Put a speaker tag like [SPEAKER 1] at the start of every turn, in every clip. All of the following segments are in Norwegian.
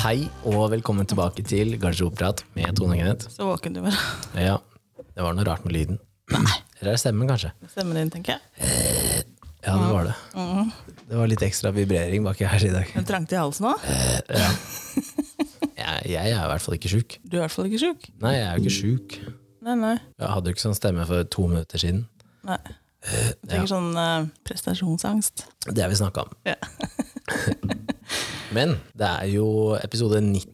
[SPEAKER 1] Hei og velkommen tilbake til Garderobeprat med Tone og Kenneth.
[SPEAKER 2] Så våken du var.
[SPEAKER 1] Ja, det var noe rart med lyden. Eller er det stemmen, kanskje?
[SPEAKER 2] Stemmen din, tenker jeg.
[SPEAKER 1] Ja, det var det.
[SPEAKER 2] Mm.
[SPEAKER 1] Det var litt ekstra vibrering baki her i dag.
[SPEAKER 2] Den trengte i halsen òg.
[SPEAKER 1] Jeg, jeg er i hvert fall ikke sjuk.
[SPEAKER 2] Du er i hvert fall ikke sjuk.
[SPEAKER 1] Nei, jeg er jo ikke sjuk.
[SPEAKER 2] Nei, nei.
[SPEAKER 1] Jeg hadde jo ikke sånn stemme for to minutter siden.
[SPEAKER 2] nei. Jeg tenker sånn eh, prestasjonsangst.
[SPEAKER 1] Det har vi snakka om.
[SPEAKER 2] Ja.
[SPEAKER 1] Men det er jo episode 90.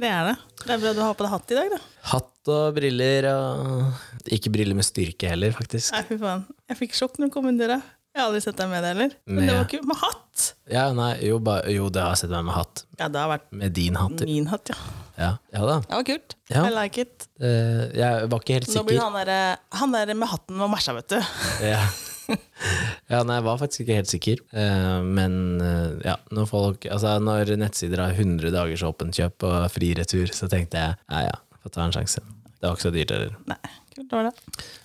[SPEAKER 2] Det er det. Det er bra du har på deg hatt i dag, da.
[SPEAKER 1] Hatt og briller og Ikke briller med styrke heller, faktisk.
[SPEAKER 2] Nei, fy faen. Jeg fikk sjokk når du kom inn døra. Jeg har aldri sett deg med det heller. Men det
[SPEAKER 1] Med-
[SPEAKER 2] var kult. Med hatt!
[SPEAKER 1] Ja, nei, jo, ba, jo, det har jeg sett meg med hatt.
[SPEAKER 2] Ja, det har vært
[SPEAKER 1] Med din hatt.
[SPEAKER 2] min hatt, ja.
[SPEAKER 1] Ja, ja da.
[SPEAKER 2] Det var kult.
[SPEAKER 1] Ja.
[SPEAKER 2] I like it.
[SPEAKER 1] Eh, Jeg var ikke helt
[SPEAKER 2] Nå
[SPEAKER 1] sikker.
[SPEAKER 2] blir han der, eh, han der med hatten var mæsja, vet du.
[SPEAKER 1] Ja. ja, nei, jeg var faktisk ikke helt sikker. Eh, men eh, ja, når, folk, altså, når nettsider har 100 dagers åpent kjøp og fri retur, så tenkte jeg ja, ja, får ta en sjanse. Det var ikke så dyrt heller.
[SPEAKER 2] Nei, kult var det.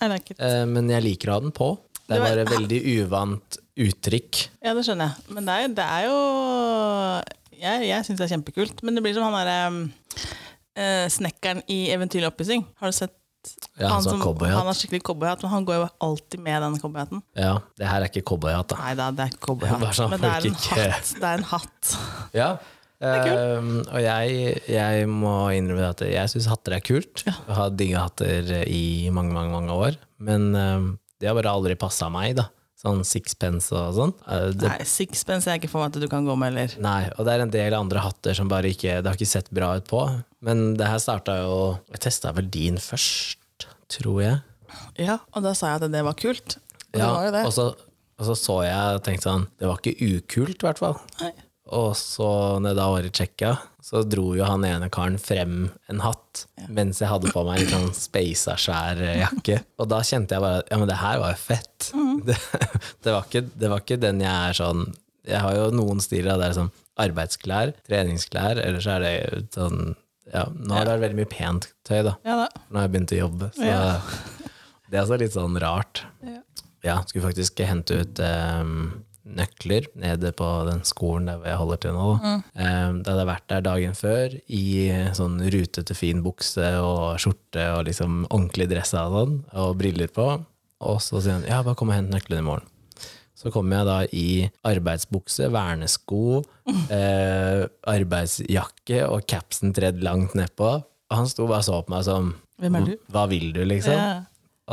[SPEAKER 2] I like it.
[SPEAKER 1] Eh, men jeg liker å ha den på. Det
[SPEAKER 2] Du
[SPEAKER 1] var
[SPEAKER 2] er-
[SPEAKER 1] et veldig uvant uttrykk.
[SPEAKER 2] Ja, det skjønner jeg. Men det er, det er jo Jeg, jeg syns det er kjempekult. Men det blir som han derre um, eh, snekkeren i Eventyrlig oppussing. Har du sett
[SPEAKER 1] Ja, han som har
[SPEAKER 2] han
[SPEAKER 1] cowboyhatt.
[SPEAKER 2] har skikkelig cowboyhatt, men han går jo alltid med den cowboyhatten.
[SPEAKER 1] Ja, det her er ikke cowboyhatt, da.
[SPEAKER 2] Nei da, det er ikke
[SPEAKER 1] Det er bare
[SPEAKER 2] cowboyhatt,
[SPEAKER 1] sånn
[SPEAKER 2] men det er en
[SPEAKER 1] folk ikke-
[SPEAKER 2] hatt. Det er en hatt.
[SPEAKER 1] Ja. Eh, og jeg, jeg må innrømme at jeg syns hatter er kult. Jeg har digga hatter i mange, mange mange år. Men eh, det har bare aldri passa meg, da. Sånn sixpence og sånn. Eh, det,
[SPEAKER 2] Nei, sixpence er ikke for meg at du kan gå med heller.
[SPEAKER 1] nei, Og det er en del andre hatter som bare ikke Det har ikke sett bra ut på. Men det her starta jo Jeg testa vel din først, tror jeg.
[SPEAKER 2] Ja, og da sa jeg at det var kult. Og det
[SPEAKER 1] Ja,
[SPEAKER 2] var jo det.
[SPEAKER 1] Og så, og så så jeg og tenkte sånn Det var ikke ukult, i hvert fall.
[SPEAKER 2] Nei.
[SPEAKER 1] Og så når jeg da var i Tsjekkia, så dro jo han ene karen frem en hatt mens jeg hadde på meg en sånn speisa, svær eh, jakke. Og da kjente jeg bare at ja, men det her var jo fett.
[SPEAKER 2] Mm.
[SPEAKER 1] Det, det, var ikke, det var ikke den jeg er sånn Jeg har jo noen stiler av det er sånn arbeidsklær, treningsklær, eller så er det sånn ja, Nå har det vært veldig mye pent tøy, da.
[SPEAKER 2] Ja da.
[SPEAKER 1] Nå har jeg begynt å jobbe, så
[SPEAKER 2] Ja.
[SPEAKER 1] det er altså litt sånn rart.
[SPEAKER 2] Ja.
[SPEAKER 1] Ja, skulle faktisk hente ut ehm, nøkler nede på den skolen der hvor jeg holder til nå. da.
[SPEAKER 2] Mm.
[SPEAKER 1] Ehm, da hadde jeg vært der dagen før i sånn rutete, fin bukse og skjorte og liksom ordentlig dressa og sånn, og briller på. Og så sier han ja, bare kom og hent nøklene i morgen. Så kommer jeg da i arbeidsbukse, vernesko, eh, arbeidsjakke og capsen tredd langt nedpå. Og han sto bare og så på meg som
[SPEAKER 2] Hvem er du?
[SPEAKER 1] Hva vil du, liksom?
[SPEAKER 2] Ja.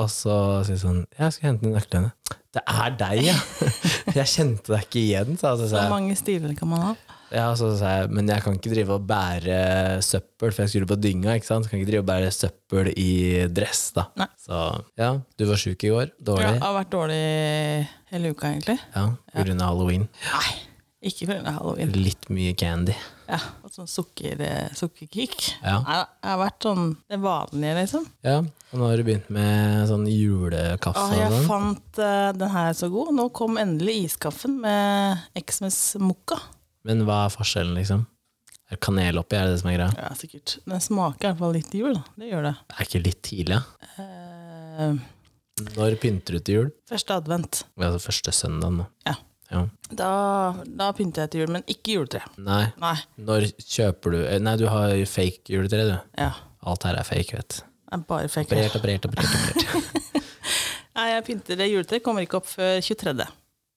[SPEAKER 1] Og så sier hun sånn Jeg skal hente nøklene. Det er deg, ja! Jeg kjente deg ikke igjen, sa jeg. Så
[SPEAKER 2] Så
[SPEAKER 1] sa jeg.
[SPEAKER 2] mange stiler kan man ha.
[SPEAKER 1] Ja, så sa jeg men jeg kan ikke drive og bære søppel, for jeg skulle på dynga. ikke sant? Så kan jeg ikke drive og bære søppel i dress, da.
[SPEAKER 2] Nei.
[SPEAKER 1] Så ja, du var sjuk i går.
[SPEAKER 2] Ja,
[SPEAKER 1] Dårlig.
[SPEAKER 2] det har vært dårlig hele uka, egentlig.
[SPEAKER 1] Ja, Pga. halloween.
[SPEAKER 2] Nei, ikke pga. halloween.
[SPEAKER 1] Litt mye candy.
[SPEAKER 2] Ja, og sånn sukker, eh, sukkerkick.
[SPEAKER 1] Ja.
[SPEAKER 2] Nei, Jeg har vært sånn det vanlige, liksom.
[SPEAKER 1] Ja, Og nå har du begynt med sånn julekaffe
[SPEAKER 2] Å,
[SPEAKER 1] og
[SPEAKER 2] jeg
[SPEAKER 1] sånn.
[SPEAKER 2] fant eh, den her så god. Nå kom endelig iskaffen med Xmas Mokka.
[SPEAKER 1] Men hva er forskjellen, liksom? Er det kanel oppi, er det det som er greia?
[SPEAKER 2] Ja, sikkert. Den smaker i hvert fall litt jul. da. Det gjør det.
[SPEAKER 1] Er ikke litt tidlig? ja?
[SPEAKER 2] Eh,
[SPEAKER 1] Når pynter du til jul?
[SPEAKER 2] første advent.
[SPEAKER 1] Altså første søndag nå.
[SPEAKER 2] Ja.
[SPEAKER 1] Ja.
[SPEAKER 2] Da, da pynter jeg til jul, men ikke juletre.
[SPEAKER 1] Nei.
[SPEAKER 2] Nei.
[SPEAKER 1] Når kjøper du eh, Nei, du har jo fake juletre, du.
[SPEAKER 2] Ja.
[SPEAKER 1] Alt her er fake, vet du.
[SPEAKER 2] Det er bare fake.
[SPEAKER 1] Operert, operert, operert. operert.
[SPEAKER 2] Nei, jeg pynter det juletreet. Kommer ikke opp før 23.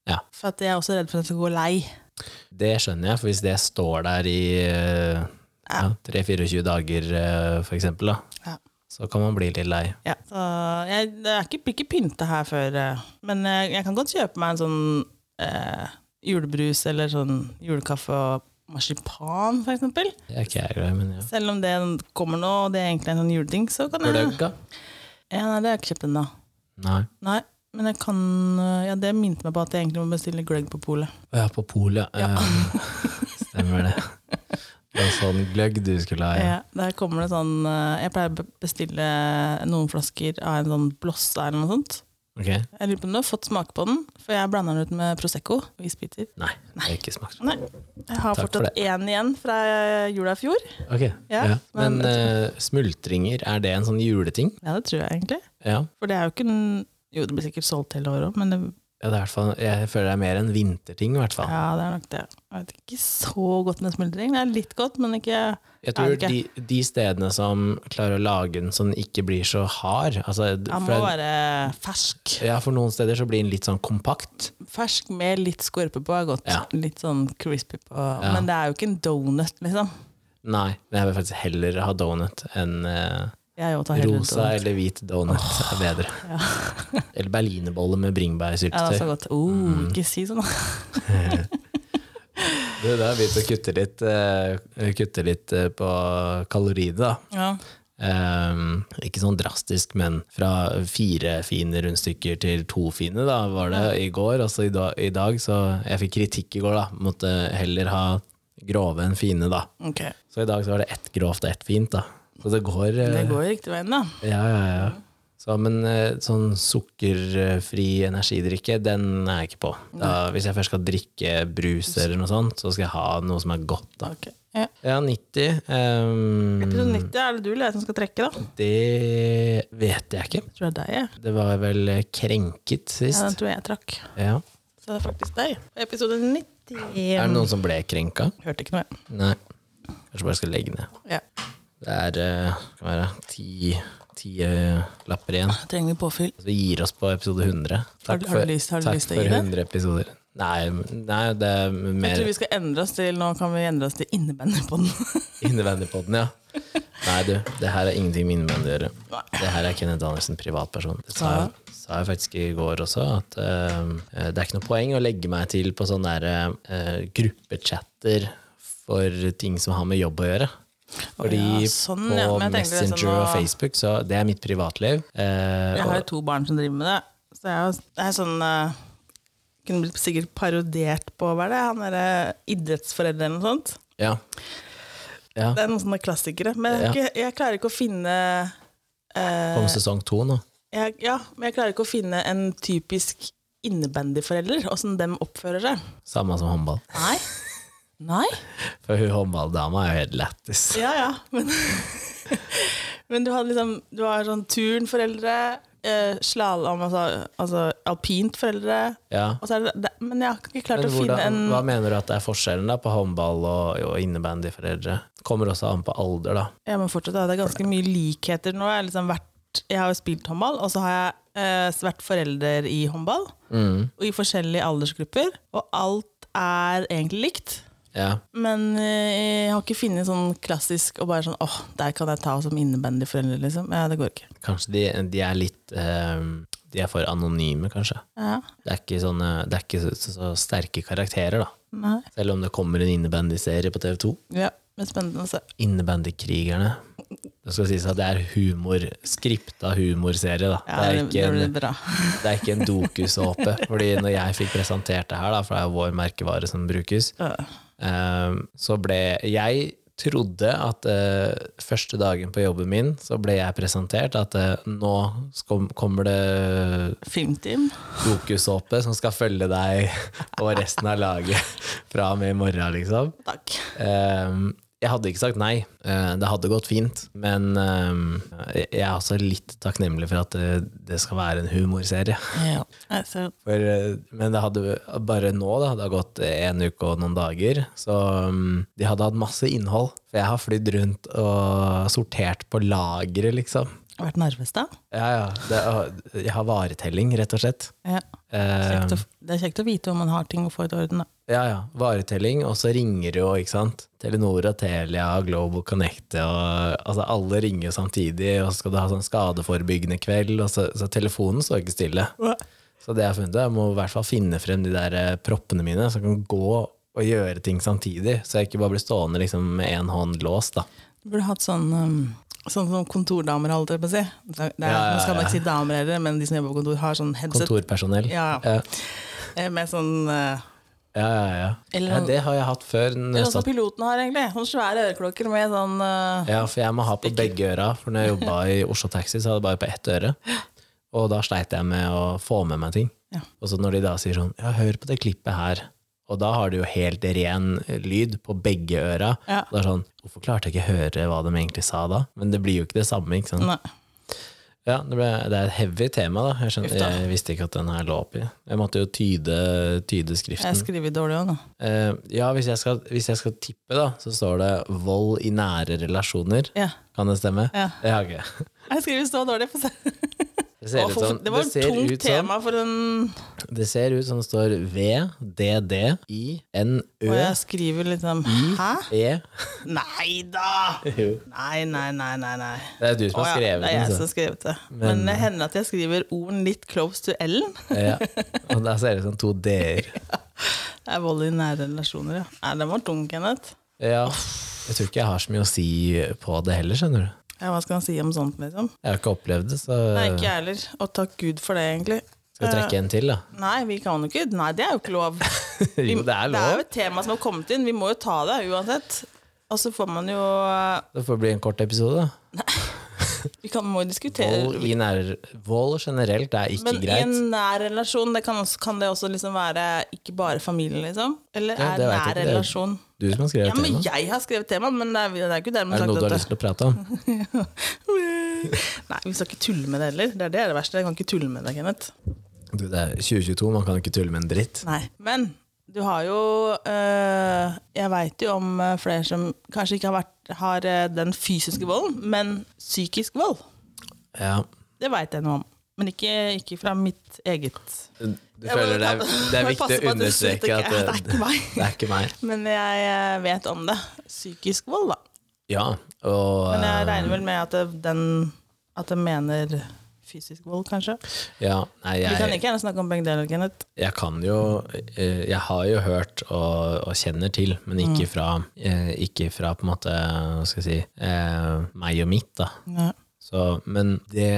[SPEAKER 1] Ja.
[SPEAKER 2] For at jeg er også redd for at det skal gå lei.
[SPEAKER 1] Det skjønner jeg, for hvis det står der i eh, ja, 3-24 dager, eh, for eksempel, da,
[SPEAKER 2] Ja.
[SPEAKER 1] så kan man bli litt lei.
[SPEAKER 2] Ja, så jeg, det er ikke, blir ikke pynta her før eh, Men jeg, jeg kan godt kjøpe meg en sånn eh, julebrus eller sånn julekaffe og marsipan, for eksempel.
[SPEAKER 1] Det er ikke jeg glad i, men ja.
[SPEAKER 2] Selv om det kommer nå, og det er egentlig en sånn juleting, så kan jeg
[SPEAKER 1] Gløgga?
[SPEAKER 2] ja, Nei, det har jeg ikke kjøpt ennå.
[SPEAKER 1] Nei.
[SPEAKER 2] Nei, men jeg kan eh, Ja, det minte meg på at jeg egentlig må bestille gløgg på polet.
[SPEAKER 1] Å ja, på polet. Ja. stemmer det. Det var sånn gløgg du skulle ha. Ja.
[SPEAKER 2] Ja, der kommer det sånn eh, Jeg pleier å be- bestille noen flasker av en sånn blosse eller noe sånt.
[SPEAKER 1] Ok?
[SPEAKER 2] Jeg lurer på om du har fått smake på den, for jeg blanda den ut med Prosecco og isbiter.
[SPEAKER 1] Nei, det har ikke sånn. smakt.
[SPEAKER 2] Nei. Jeg
[SPEAKER 1] Takk
[SPEAKER 2] har
[SPEAKER 1] for
[SPEAKER 2] fortsatt én igjen fra jula i fjor.
[SPEAKER 1] Ok, ja. Men
[SPEAKER 2] men-
[SPEAKER 1] eh, smultringer, er det en sånn juleting?
[SPEAKER 2] Ja, det tror jeg egentlig.
[SPEAKER 1] Ja.
[SPEAKER 2] For det er jo ikke en Jo, det blir sikkert solgt hele året òg, men det
[SPEAKER 1] Ja, det er i hvert fall, jeg føler det er mer en vinterting, i hvert fall.
[SPEAKER 2] Ja, det er nok det. Jeg vet ikke så godt med smuldring. Det er litt godt, men ikke
[SPEAKER 1] Jeg
[SPEAKER 2] Er
[SPEAKER 1] tror
[SPEAKER 2] det ikke?
[SPEAKER 1] de, de stedene som klarer å lage den så den ikke blir så hard altså,
[SPEAKER 2] Den må
[SPEAKER 1] for,
[SPEAKER 2] være fersk.
[SPEAKER 1] ja, for noen steder så blir den litt sånn kompakt.
[SPEAKER 2] Fersk med litt skorpe på er godt.
[SPEAKER 1] Ja.
[SPEAKER 2] Litt sånn crispy på. Men det er jo ikke en donut, liksom.
[SPEAKER 1] Nei, men jeg vil faktisk heller ha donut enn eh,
[SPEAKER 2] Jeg òg tar heller
[SPEAKER 1] rosa
[SPEAKER 2] donut.
[SPEAKER 1] eller hvit donut. er bedre. eller berlinerbolle med
[SPEAKER 2] Ja, det er
[SPEAKER 1] bringebærsyltetøy.
[SPEAKER 2] så godt. Oh, Ikke si sånn, da.
[SPEAKER 1] Du, da har jeg begynt å kutte litt, eh, kutte litt eh, på kaloriene, da.
[SPEAKER 2] Ja.
[SPEAKER 1] Ehm, ikke sånn drastisk, men fra fire fine rundstykker til to fine da, var det i går. Og så i, da, i dag, så jeg fikk kritikk i går, da. Måtte heller ha grove enn fine, da.
[SPEAKER 2] Ok.
[SPEAKER 1] Så i dag så var det ett grovt og ett fint, da. Så det går. eh,
[SPEAKER 2] Det går riktig veien, da.
[SPEAKER 1] Ja, ja, ja. Så, men eh, sånn sukkerfri energidrikke, den er jeg ikke på. Da, hvis jeg først skal drikke brus eller noe sånt, så skal jeg ha noe som er godt, da.
[SPEAKER 2] Ok. Ja.
[SPEAKER 1] Ja, 90. ehm,
[SPEAKER 2] Episode 90 er det du eller Mm. jeg som skal trekke, da?
[SPEAKER 1] det vet jeg ikke.
[SPEAKER 2] Jeg tror det er deg, jeg.
[SPEAKER 1] Det var vel eh, krenket
[SPEAKER 2] Ja, den
[SPEAKER 1] sist.
[SPEAKER 2] tror jeg jeg trakk.
[SPEAKER 1] Ja.
[SPEAKER 2] Så det er faktisk deg. Episode 90.
[SPEAKER 1] Er det noen som ble krenka?
[SPEAKER 2] Hørte ikke noe.
[SPEAKER 1] Nei. Kanskje bare skal legge ned.
[SPEAKER 2] Ja.
[SPEAKER 1] Det er eh, kan være, ti, ti eh, lapper igjen.
[SPEAKER 2] Trenger vi påfyll?
[SPEAKER 1] Så vi gir oss på episode 100.
[SPEAKER 2] Har du- har du lyst- har du
[SPEAKER 1] takk
[SPEAKER 2] lyst til å
[SPEAKER 1] for
[SPEAKER 2] gi det?
[SPEAKER 1] 100 episoder. Nei, nei, det er
[SPEAKER 2] Jeg
[SPEAKER 1] mer
[SPEAKER 2] tror vi skal endre oss til Nå kan vi endre oss til innebandypodden.
[SPEAKER 1] innvendig på den, ja. Nei, du, det her er ingenting med innvendig å gjøre.
[SPEAKER 2] Nei.
[SPEAKER 1] Det her er Kenneth Danielsen, privatperson. Det sa, jeg- sa jeg faktisk i går også, at eh, det er ikke noe poeng å legge meg til på sånne der, eh, gruppechatter for ting som har med jobb å gjøre. Fordi
[SPEAKER 2] ja, sånn,
[SPEAKER 1] på
[SPEAKER 2] ja. Men jeg tenkte liksom
[SPEAKER 1] Messenger og
[SPEAKER 2] nå-
[SPEAKER 1] Facebook, så det er mitt privatliv. eh,
[SPEAKER 2] Jeg har
[SPEAKER 1] og-
[SPEAKER 2] jo to barn som driver med det. Så jeg er jo- det er sånn eh, Kunne blitt sikkert parodert på hva er det han derre idrettsforeldre eller noe sånt.
[SPEAKER 1] ja. ja.
[SPEAKER 2] Det er noen sånne klassikere. Men jeg,
[SPEAKER 1] Ja.
[SPEAKER 2] har ikke- jeg klarer ikke å finne eh,
[SPEAKER 1] Kom sesong to nå.
[SPEAKER 2] jeg, Ja, men jeg klarer ikke å finne en typisk innebandyforelder, åssen dem oppfører seg.
[SPEAKER 1] Samme som håndball.
[SPEAKER 2] Nei. Nei?
[SPEAKER 1] For hun håndballdama er jo helt lættis.
[SPEAKER 2] Ja, ja. Men, men du hadde liksom Du har sånn turnforeldre, eh, slalåm, altså, altså alpintforeldre
[SPEAKER 1] Ja.
[SPEAKER 2] og så er det, det, Men jeg har ikke klart
[SPEAKER 1] Men
[SPEAKER 2] å finne
[SPEAKER 1] hvordan,
[SPEAKER 2] en
[SPEAKER 1] hva mener du at det er forskjellen da på håndball og, og innebandyforeldre? Kommer også an på alder, da.
[SPEAKER 2] Ja, men fortsatt er det ganske mye likheter nå. Jeg har, liksom vært, jeg har jo spilt håndball, og så har jeg eh, vært forelder i håndball. Og i forskjellige aldersgrupper. Og alt er egentlig likt.
[SPEAKER 1] Ja.
[SPEAKER 2] Men eh, jeg har ikke funnet sånn klassisk og bare sånn åh, der kan jeg ta som innebandyforelder, liksom. Ja, det går ikke.
[SPEAKER 1] Kanskje de, de er litt eh, De er for anonyme, kanskje.
[SPEAKER 2] Ja,
[SPEAKER 1] Det er ikke, sånne, det er ikke så, så, så sterke karakterer, da.
[SPEAKER 2] nei.
[SPEAKER 1] Selv om det kommer en innebandyserie på TV2.
[SPEAKER 2] Ja, men spennende å se.
[SPEAKER 1] Innebandykrigerne. Det skal sies at det er humor, skripta humorserie, da. det,
[SPEAKER 2] Ja, det,
[SPEAKER 1] er
[SPEAKER 2] det
[SPEAKER 1] ikke en,
[SPEAKER 2] blir bra.
[SPEAKER 1] det er ikke en dokusåpe. fordi når jeg fikk presentert det her, da, for det er jo vår merkevare som brukes,
[SPEAKER 2] Ja.
[SPEAKER 1] Ehm, så ble Jeg trodde at eh, første dagen på jobben min så ble jeg presentert at eh, nå skom, kommer det
[SPEAKER 2] Filmteam.
[SPEAKER 1] dokusåpe som skal følge deg og resten av laget fra og med i morgen, liksom.
[SPEAKER 2] Takk.
[SPEAKER 1] Ehm, jeg hadde ikke sagt nei. Eh, det hadde gått fint. Men ehm, jeg er også litt takknemlig for at eh, det skal være en humorserie.
[SPEAKER 2] Ja. Altså,
[SPEAKER 1] For, eh, men det hadde bare nå, da, det har gått en uke og noen dager, så mm, de hadde hatt masse innhold. For jeg har flydd rundt og sortert på lageret, liksom.
[SPEAKER 2] har vært Narvestad.
[SPEAKER 1] Ja, ja. Det, og jeg har varetelling, rett og slett.
[SPEAKER 2] Ja.
[SPEAKER 1] Eh,
[SPEAKER 2] Kjekt å, det er kjekt å vite om man har ting å få i orden, da.
[SPEAKER 1] ja, ja. Varetelling, og så ringer det jo, ikke sant. Telenor og Telia og Global Connect og altså alle ringer samtidig, og så skal du ha sånn skadeforebyggende kveld, og så, så telefonen står ikke stille. Så det jeg har funnet, jeg må i hvert fall finne frem de der eh, proppene mine, så jeg kan gå og gjøre ting samtidig, så jeg ikke bare blir stående liksom, med én hånd låst. da.
[SPEAKER 2] Du burde hatt sånn um, Sånn som kontordamer, holdt jeg på å si. Det er,
[SPEAKER 1] ja,
[SPEAKER 2] Nå skal
[SPEAKER 1] ja.
[SPEAKER 2] man ikke si damer heller, men de som jobber på kontor, har sånn headset
[SPEAKER 1] Kontorpersonell.
[SPEAKER 2] ja,
[SPEAKER 1] Ja,
[SPEAKER 2] eh, med sånn eh,
[SPEAKER 1] ja, ja. ja.
[SPEAKER 2] Eller
[SPEAKER 1] ja
[SPEAKER 2] noen-
[SPEAKER 1] det har jeg hatt før. når jeg
[SPEAKER 2] Sånn som
[SPEAKER 1] satt-
[SPEAKER 2] piloten har, egentlig. Sånne svære øreklokker med sånn eh,
[SPEAKER 1] Ja, for jeg må ha på begge øra, for når jeg jobba i Oslo Taxi, så hadde jeg bare på ett øre. Og da sleit jeg med å få med meg ting.
[SPEAKER 2] Ja.
[SPEAKER 1] Og så når de da sier sånn, ja, hør på det klippet her, og da har du jo helt ren eh, lyd på begge øra.
[SPEAKER 2] Ja.
[SPEAKER 1] Det er sånn, hvorfor klarte jeg ikke høre hva de egentlig sa da? Men det blir jo ikke det samme, ikke sant?
[SPEAKER 2] Nei.
[SPEAKER 1] Ja, det, ble, det er et heavy tema, da. Jeg, skjønner,
[SPEAKER 2] Uff da.
[SPEAKER 1] jeg visste ikke at den her lå oppi. Jeg måtte jo tyde, tyde
[SPEAKER 2] Jeg
[SPEAKER 1] skriften.
[SPEAKER 2] skriver dårlig òg, nå.
[SPEAKER 1] Eh, ja, hvis jeg, skal, hvis jeg skal tippe, da, så står det 'vold i nære relasjoner'.
[SPEAKER 2] Ja.
[SPEAKER 1] Kan det stemme?
[SPEAKER 2] Ja.
[SPEAKER 1] Det har jeg ikke.
[SPEAKER 2] Jeg skriver så dårlig. Få se.
[SPEAKER 1] Det ser
[SPEAKER 2] Å,
[SPEAKER 1] ut
[SPEAKER 2] for-
[SPEAKER 1] som
[SPEAKER 2] det var et
[SPEAKER 1] ser
[SPEAKER 2] tungt
[SPEAKER 1] ut sånn. som-
[SPEAKER 2] tema for en
[SPEAKER 1] Det ser ut som det står V, D, D, I, N, Ø,
[SPEAKER 2] Og jeg skriver liksom Hæ?
[SPEAKER 1] E.
[SPEAKER 2] Nei da!
[SPEAKER 1] Jo.
[SPEAKER 2] Nei, nei, nei, nei. nei.
[SPEAKER 1] Det er du som
[SPEAKER 2] Å,
[SPEAKER 1] har
[SPEAKER 2] ja,
[SPEAKER 1] skrevet
[SPEAKER 2] det er jeg
[SPEAKER 1] den.
[SPEAKER 2] som
[SPEAKER 1] Så.
[SPEAKER 2] har skrevet det. Men, det hender at jeg skriver ord litt close to L-en.
[SPEAKER 1] Ja. Og der ser det ut som to D-er.
[SPEAKER 2] Det er vold i nære relasjoner, ja. Nei, den var tung, Kenneth.
[SPEAKER 1] Ja. Jeg tror ikke jeg har så mye å si på det heller, skjønner du.
[SPEAKER 2] Ja, hva skal han si om sånt, liksom?
[SPEAKER 1] Jeg har ikke opplevd det, så
[SPEAKER 2] Nei, ikke jeg heller. Og takk Gud for det, egentlig.
[SPEAKER 1] skal jeg trekke en til, da.
[SPEAKER 2] Nei, vi kan jo ikke. Nei, det er jo ikke lov. Vi-
[SPEAKER 1] Jo, det er
[SPEAKER 2] Det er jo
[SPEAKER 1] lov.
[SPEAKER 2] et tema som har kommet inn. Vi må jo ta det uansett. Og så får man jo
[SPEAKER 1] Det får bli en kort episode. da.
[SPEAKER 2] Vi kan, må jo diskutere
[SPEAKER 1] Vold, i nære, vold generelt er ikke
[SPEAKER 2] Men i
[SPEAKER 1] greit.
[SPEAKER 2] en nær relasjon, det kan, også, kan det også liksom være ikke bare familien, liksom? Eller
[SPEAKER 1] Ja,
[SPEAKER 2] er
[SPEAKER 1] det vet jeg
[SPEAKER 2] nær
[SPEAKER 1] ikke, det er-
[SPEAKER 2] relasjon
[SPEAKER 1] Du som har skrevet
[SPEAKER 2] Ja, men
[SPEAKER 1] temaet.
[SPEAKER 2] jeg har skrevet temaet, men det er, det er ikke
[SPEAKER 1] Er
[SPEAKER 2] dermed
[SPEAKER 1] det
[SPEAKER 2] sagt
[SPEAKER 1] noe du
[SPEAKER 2] at
[SPEAKER 1] har
[SPEAKER 2] det-
[SPEAKER 1] lyst til å prate om?
[SPEAKER 2] Nei, vi skal ikke tulle med det heller. Det er det, er det verste. Jeg kan ikke tulle med det, Kenneth.
[SPEAKER 1] Du, det er 2022, man kan ikke tulle med en dritt.
[SPEAKER 2] Nei. Men du har jo øh, Jeg veit jo om øh, flere som kanskje ikke har, vært, har øh, den fysiske volden, men psykisk vold.
[SPEAKER 1] Ja.
[SPEAKER 2] Det veit jeg noe om. Men ikke, ikke fra mitt eget
[SPEAKER 1] Du
[SPEAKER 2] Jeg må-
[SPEAKER 1] føler det er, det er
[SPEAKER 2] Jeg må
[SPEAKER 1] viktig
[SPEAKER 2] passe
[SPEAKER 1] å
[SPEAKER 2] på at du sier
[SPEAKER 1] understreke
[SPEAKER 2] ikke-
[SPEAKER 1] at
[SPEAKER 2] Det er ikke meg.
[SPEAKER 1] det er ikke meg.
[SPEAKER 2] Men jeg øh, vet om det. Psykisk vold, da.
[SPEAKER 1] Ja, og
[SPEAKER 2] Men jeg
[SPEAKER 1] eh,
[SPEAKER 2] regner vel med at det, den At jeg mener fysisk vold, kanskje.
[SPEAKER 1] ja, nei,
[SPEAKER 2] Vi kan
[SPEAKER 1] jeg,
[SPEAKER 2] ikke gjerne snakke om begge deler, Kenneth.
[SPEAKER 1] jeg kan jo eh, Jeg har jo hørt og, og kjenner til, men
[SPEAKER 2] Mm.
[SPEAKER 1] ikke fra, eh, ikke fra på en måte Hva skal jeg si eh, meg og mitt, da.
[SPEAKER 2] Ja.
[SPEAKER 1] Så, men det,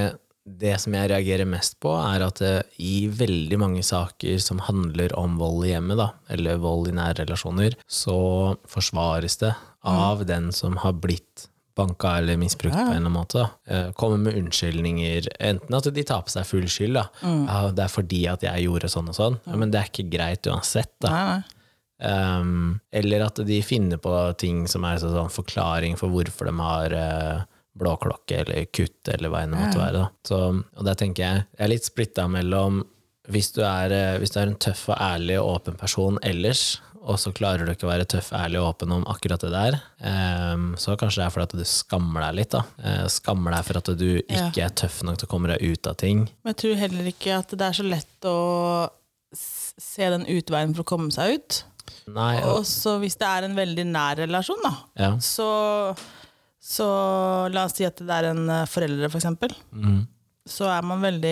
[SPEAKER 1] det som jeg reagerer mest på, er at eh, i veldig mange saker som handler om vold i hjemmet, da, eller vold i nære relasjoner, så forsvares det av den som har blitt banka eller misbrukt på en eller annen måte. da. Eh, Kommer med unnskyldninger. Enten at de tar på seg full skyld. da. Ja, 'Det er fordi at jeg gjorde sånn og sånn.' Ja, men det er ikke greit uansett. da.
[SPEAKER 2] Nei, nei.
[SPEAKER 1] Um, eller at de finner på ting som er sånn sånn forklaring for hvorfor de har eh, blåklokke eller kutt eller hva enn det måtte være. Da. Så, og der tenker jeg jeg er litt splitta mellom hvis du, er, eh, hvis du er en tøff og ærlig og åpen person ellers, og så klarer du ikke å være tøff, ærlig og åpen om akkurat det der, um, så kanskje det er fordi at du skammer deg litt. Da. Eh, skammer deg for at du
[SPEAKER 2] Ja.
[SPEAKER 1] ikke er tøff nok til å komme deg ut av ting.
[SPEAKER 2] Men jeg tror heller ikke at det er så lett å s- se den utveien for å komme seg ut.
[SPEAKER 1] Nei, og,
[SPEAKER 2] Og så hvis det er en veldig nær relasjon, da,
[SPEAKER 1] ja.
[SPEAKER 2] så, så la oss si at det er en eh, foreldre, for eksempel.
[SPEAKER 1] Mhm.
[SPEAKER 2] Så er man veldig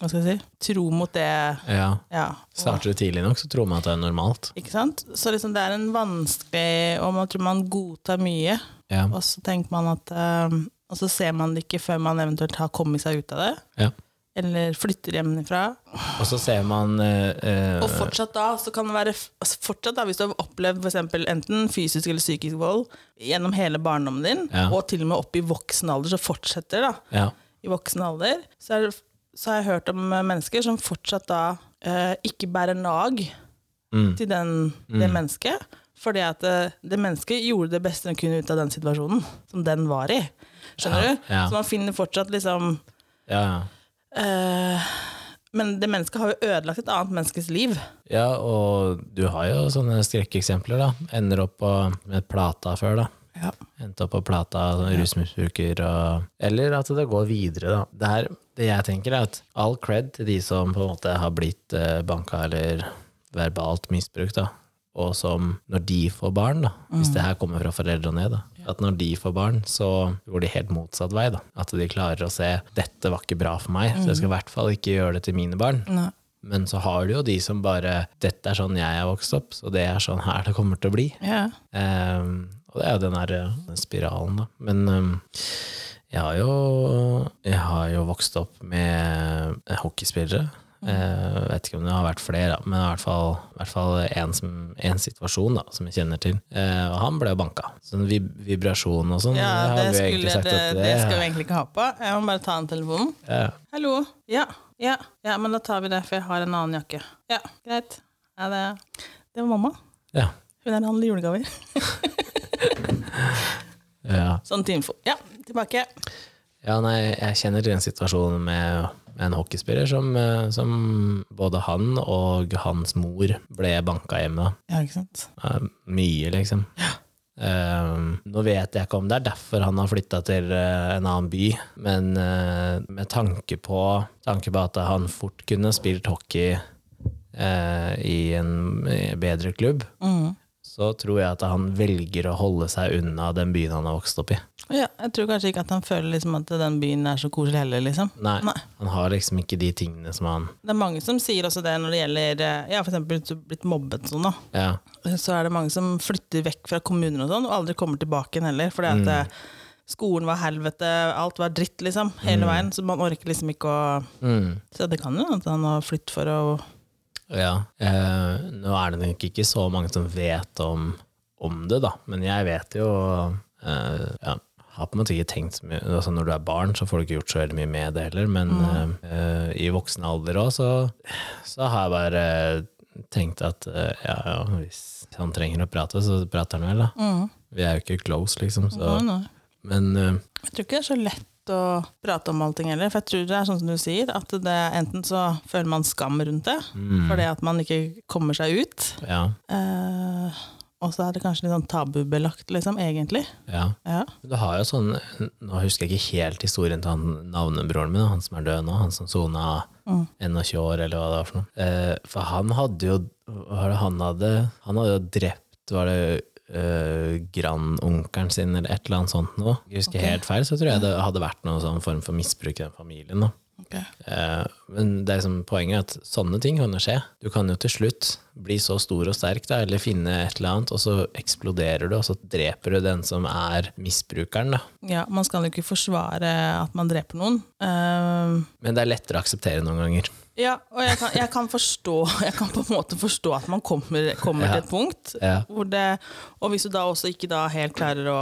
[SPEAKER 2] hva skal jeg si, tro mot det.
[SPEAKER 1] ja.
[SPEAKER 2] Ja, og,
[SPEAKER 1] Starter du tidlig nok, så tror man at det er normalt.
[SPEAKER 2] ikke sant? Så liksom det er en vanskelig Og man tror man godtar mye,
[SPEAKER 1] Ja.
[SPEAKER 2] og så tenker man at eh, Og så ser man det ikke før man eventuelt har kommet seg ut av det,
[SPEAKER 1] Ja.
[SPEAKER 2] eller flytter hjemmefra.
[SPEAKER 1] Og så ser man eh, eh,
[SPEAKER 2] Og fortsatt da, så kan det være altså fortsatt da, Hvis du har opplevd for eksempel, enten fysisk eller psykisk vold gjennom hele barndommen din,
[SPEAKER 1] Ja.
[SPEAKER 2] og til og med opp i voksen alder, så fortsetter da,
[SPEAKER 1] ja,
[SPEAKER 2] i voksen alder, så, er, det- så har jeg hørt om eh, mennesker som fortsatt da eh, ikke bærer nag
[SPEAKER 1] Mm.
[SPEAKER 2] til den, det mennesket, fordi at det, det mennesket gjorde det beste den kunne ut av den situasjonen som den var i. Skjønner
[SPEAKER 1] Ja,
[SPEAKER 2] du?
[SPEAKER 1] ja.
[SPEAKER 2] Så man finner fortsatt liksom
[SPEAKER 1] ja, ja.
[SPEAKER 2] eh, Men det mennesket har jo ødelagt et annet menneskes liv.
[SPEAKER 1] ja, og du har jo sånne skrekkeksempler, da. Ender opp på, med plata før, da.
[SPEAKER 2] Ja.
[SPEAKER 1] Endte opp på plata, sånn rusmisbruker og Eller at det går videre, da. Det, her, det jeg tenker, er at all cred til de som på en måte har blitt eh, banka eller verbalt misbrukt, da. Og som, når de får barn, da, hvis det her kommer fra foreldre og ned, da, at når de får barn, så går de helt motsatt vei. da, At de klarer å se 'dette var ikke bra for meg', så jeg skal i hvert fall ikke gjøre det til mine barn.
[SPEAKER 2] Nei.
[SPEAKER 1] Men så har du jo de som bare 'dette er sånn jeg er vokst opp, så det er sånn her det kommer til å bli'.
[SPEAKER 2] Ja.
[SPEAKER 1] Ehm, og det er jo den der eh, den spiralen, da. Men ehm, jeg, har jo, jeg har jo vokst opp med eh, hockeyspillere.
[SPEAKER 2] Mm.
[SPEAKER 1] Eh, vet ikke om det har vært flere, da, men i hvert fall, i hvert fall en, som, en situasjon da, som jeg kjenner til. Eh, og han ble jo banka. Sånn vib vibrasjon og sånn.
[SPEAKER 2] Ja, det,
[SPEAKER 1] har vi jo
[SPEAKER 2] skulle,
[SPEAKER 1] egentlig
[SPEAKER 2] det,
[SPEAKER 1] sagt
[SPEAKER 2] det,
[SPEAKER 1] at
[SPEAKER 2] skal vi egentlig ikke ha på. Jeg må bare ta den telefonen.
[SPEAKER 1] ja.
[SPEAKER 2] Hallo. Ja, ja, ja, men da tar vi det, for jeg har en annen jakke. Ja, greit. Ja, det, det var mamma.
[SPEAKER 1] Ja,
[SPEAKER 2] Hun er handler julegaver.
[SPEAKER 1] ja,
[SPEAKER 2] Sånn til info. Ja, tilbake.
[SPEAKER 1] Ja, nei, jeg kjenner til den situasjonen med en hockeyspiller som, eh, som både han og hans mor ble banka hjemme.
[SPEAKER 2] Ja, ikke sant?
[SPEAKER 1] Ja, Eh, Mye, liksom. Ehm, nå vet jeg ikke om det er derfor han har flytta til eh, en annen by, men eh, med tanke på, tanke på at han fort kunne spilt hockey eh, i en eh, bedre klubb,
[SPEAKER 2] Mhm.
[SPEAKER 1] så tror jeg at han velger å holde seg unna den byen han har vokst opp i.
[SPEAKER 2] Ja, jeg tror kanskje ikke at han føler liksom at den byen er så koselig heller, liksom.
[SPEAKER 1] Nei,
[SPEAKER 2] Nei.
[SPEAKER 1] Han har liksom ikke de tingene som han
[SPEAKER 2] Det er mange som sier også det når det gjelder eh, ja, for eksempel hvis du har blitt mobbet sånn, da.
[SPEAKER 1] Ja,
[SPEAKER 2] Så er det mange som flytter vekk fra kommuner og sånn, og aldri kommer tilbake igjen heller. Fordi at eh, skolen var helvete, alt var dritt, liksom, hele veien. Så man orker liksom ikke å
[SPEAKER 1] mm,
[SPEAKER 2] Så det kan jo at han har flyttet for å
[SPEAKER 1] ja. Eh, Nå er det nok ikke så mange som vet om, om det, da, men jeg vet jo eh, ja, Har på en måte ikke tenkt så mye altså, Når du er barn, så får du ikke gjort så veldig mye med det heller, men eh, eh, i voksen alder òg, så, så har jeg bare tenkt at eh, ja, ja, hvis han trenger å prate, så prater han vel, da. Vi er jo ikke close, liksom, så
[SPEAKER 2] Nei, nei.
[SPEAKER 1] Men eh,
[SPEAKER 2] Jeg tror ikke det er så lett å prate om allting heller. For jeg tror det er sånn som du sier, at det, enten så føler man skam rundt det,
[SPEAKER 1] Mm.
[SPEAKER 2] fordi at man ikke kommer seg ut.
[SPEAKER 1] ja.
[SPEAKER 2] Eh, og så er det kanskje litt sånn tabubelagt, liksom, egentlig.
[SPEAKER 1] ja.
[SPEAKER 2] Ja.
[SPEAKER 1] Du har jo sånn, Nå husker jeg ikke helt historien til han navnebroren min, han som er død nå, han som sona 21 år, eller hva det var for noe. Eh, for han hadde jo hva var det han hadde, han hadde jo drept var det eh, grandonkelen sin, eller et eller annet sånt noe. Jeg husker helt feil, så tror jeg det hadde vært noen sånn form for misbruk i den familien. da. Eh, Men det er liksom poenget er at sånne ting kan jo skje. Du kan jo til slutt bli så stor og sterk, da, eller finne et eller annet, og så eksploderer du, og så dreper du den som er misbrukeren. Da.
[SPEAKER 2] Ja, Man skal jo ikke forsvare at man dreper noen. Eh,
[SPEAKER 1] Men det er lettere å akseptere noen ganger.
[SPEAKER 2] ja, og jeg kan, jeg kan forstå Jeg kan på en måte forstå at man kommer, kommer til et punkt.
[SPEAKER 1] Ja.
[SPEAKER 2] Hvor det, og hvis du da også ikke da helt klarer å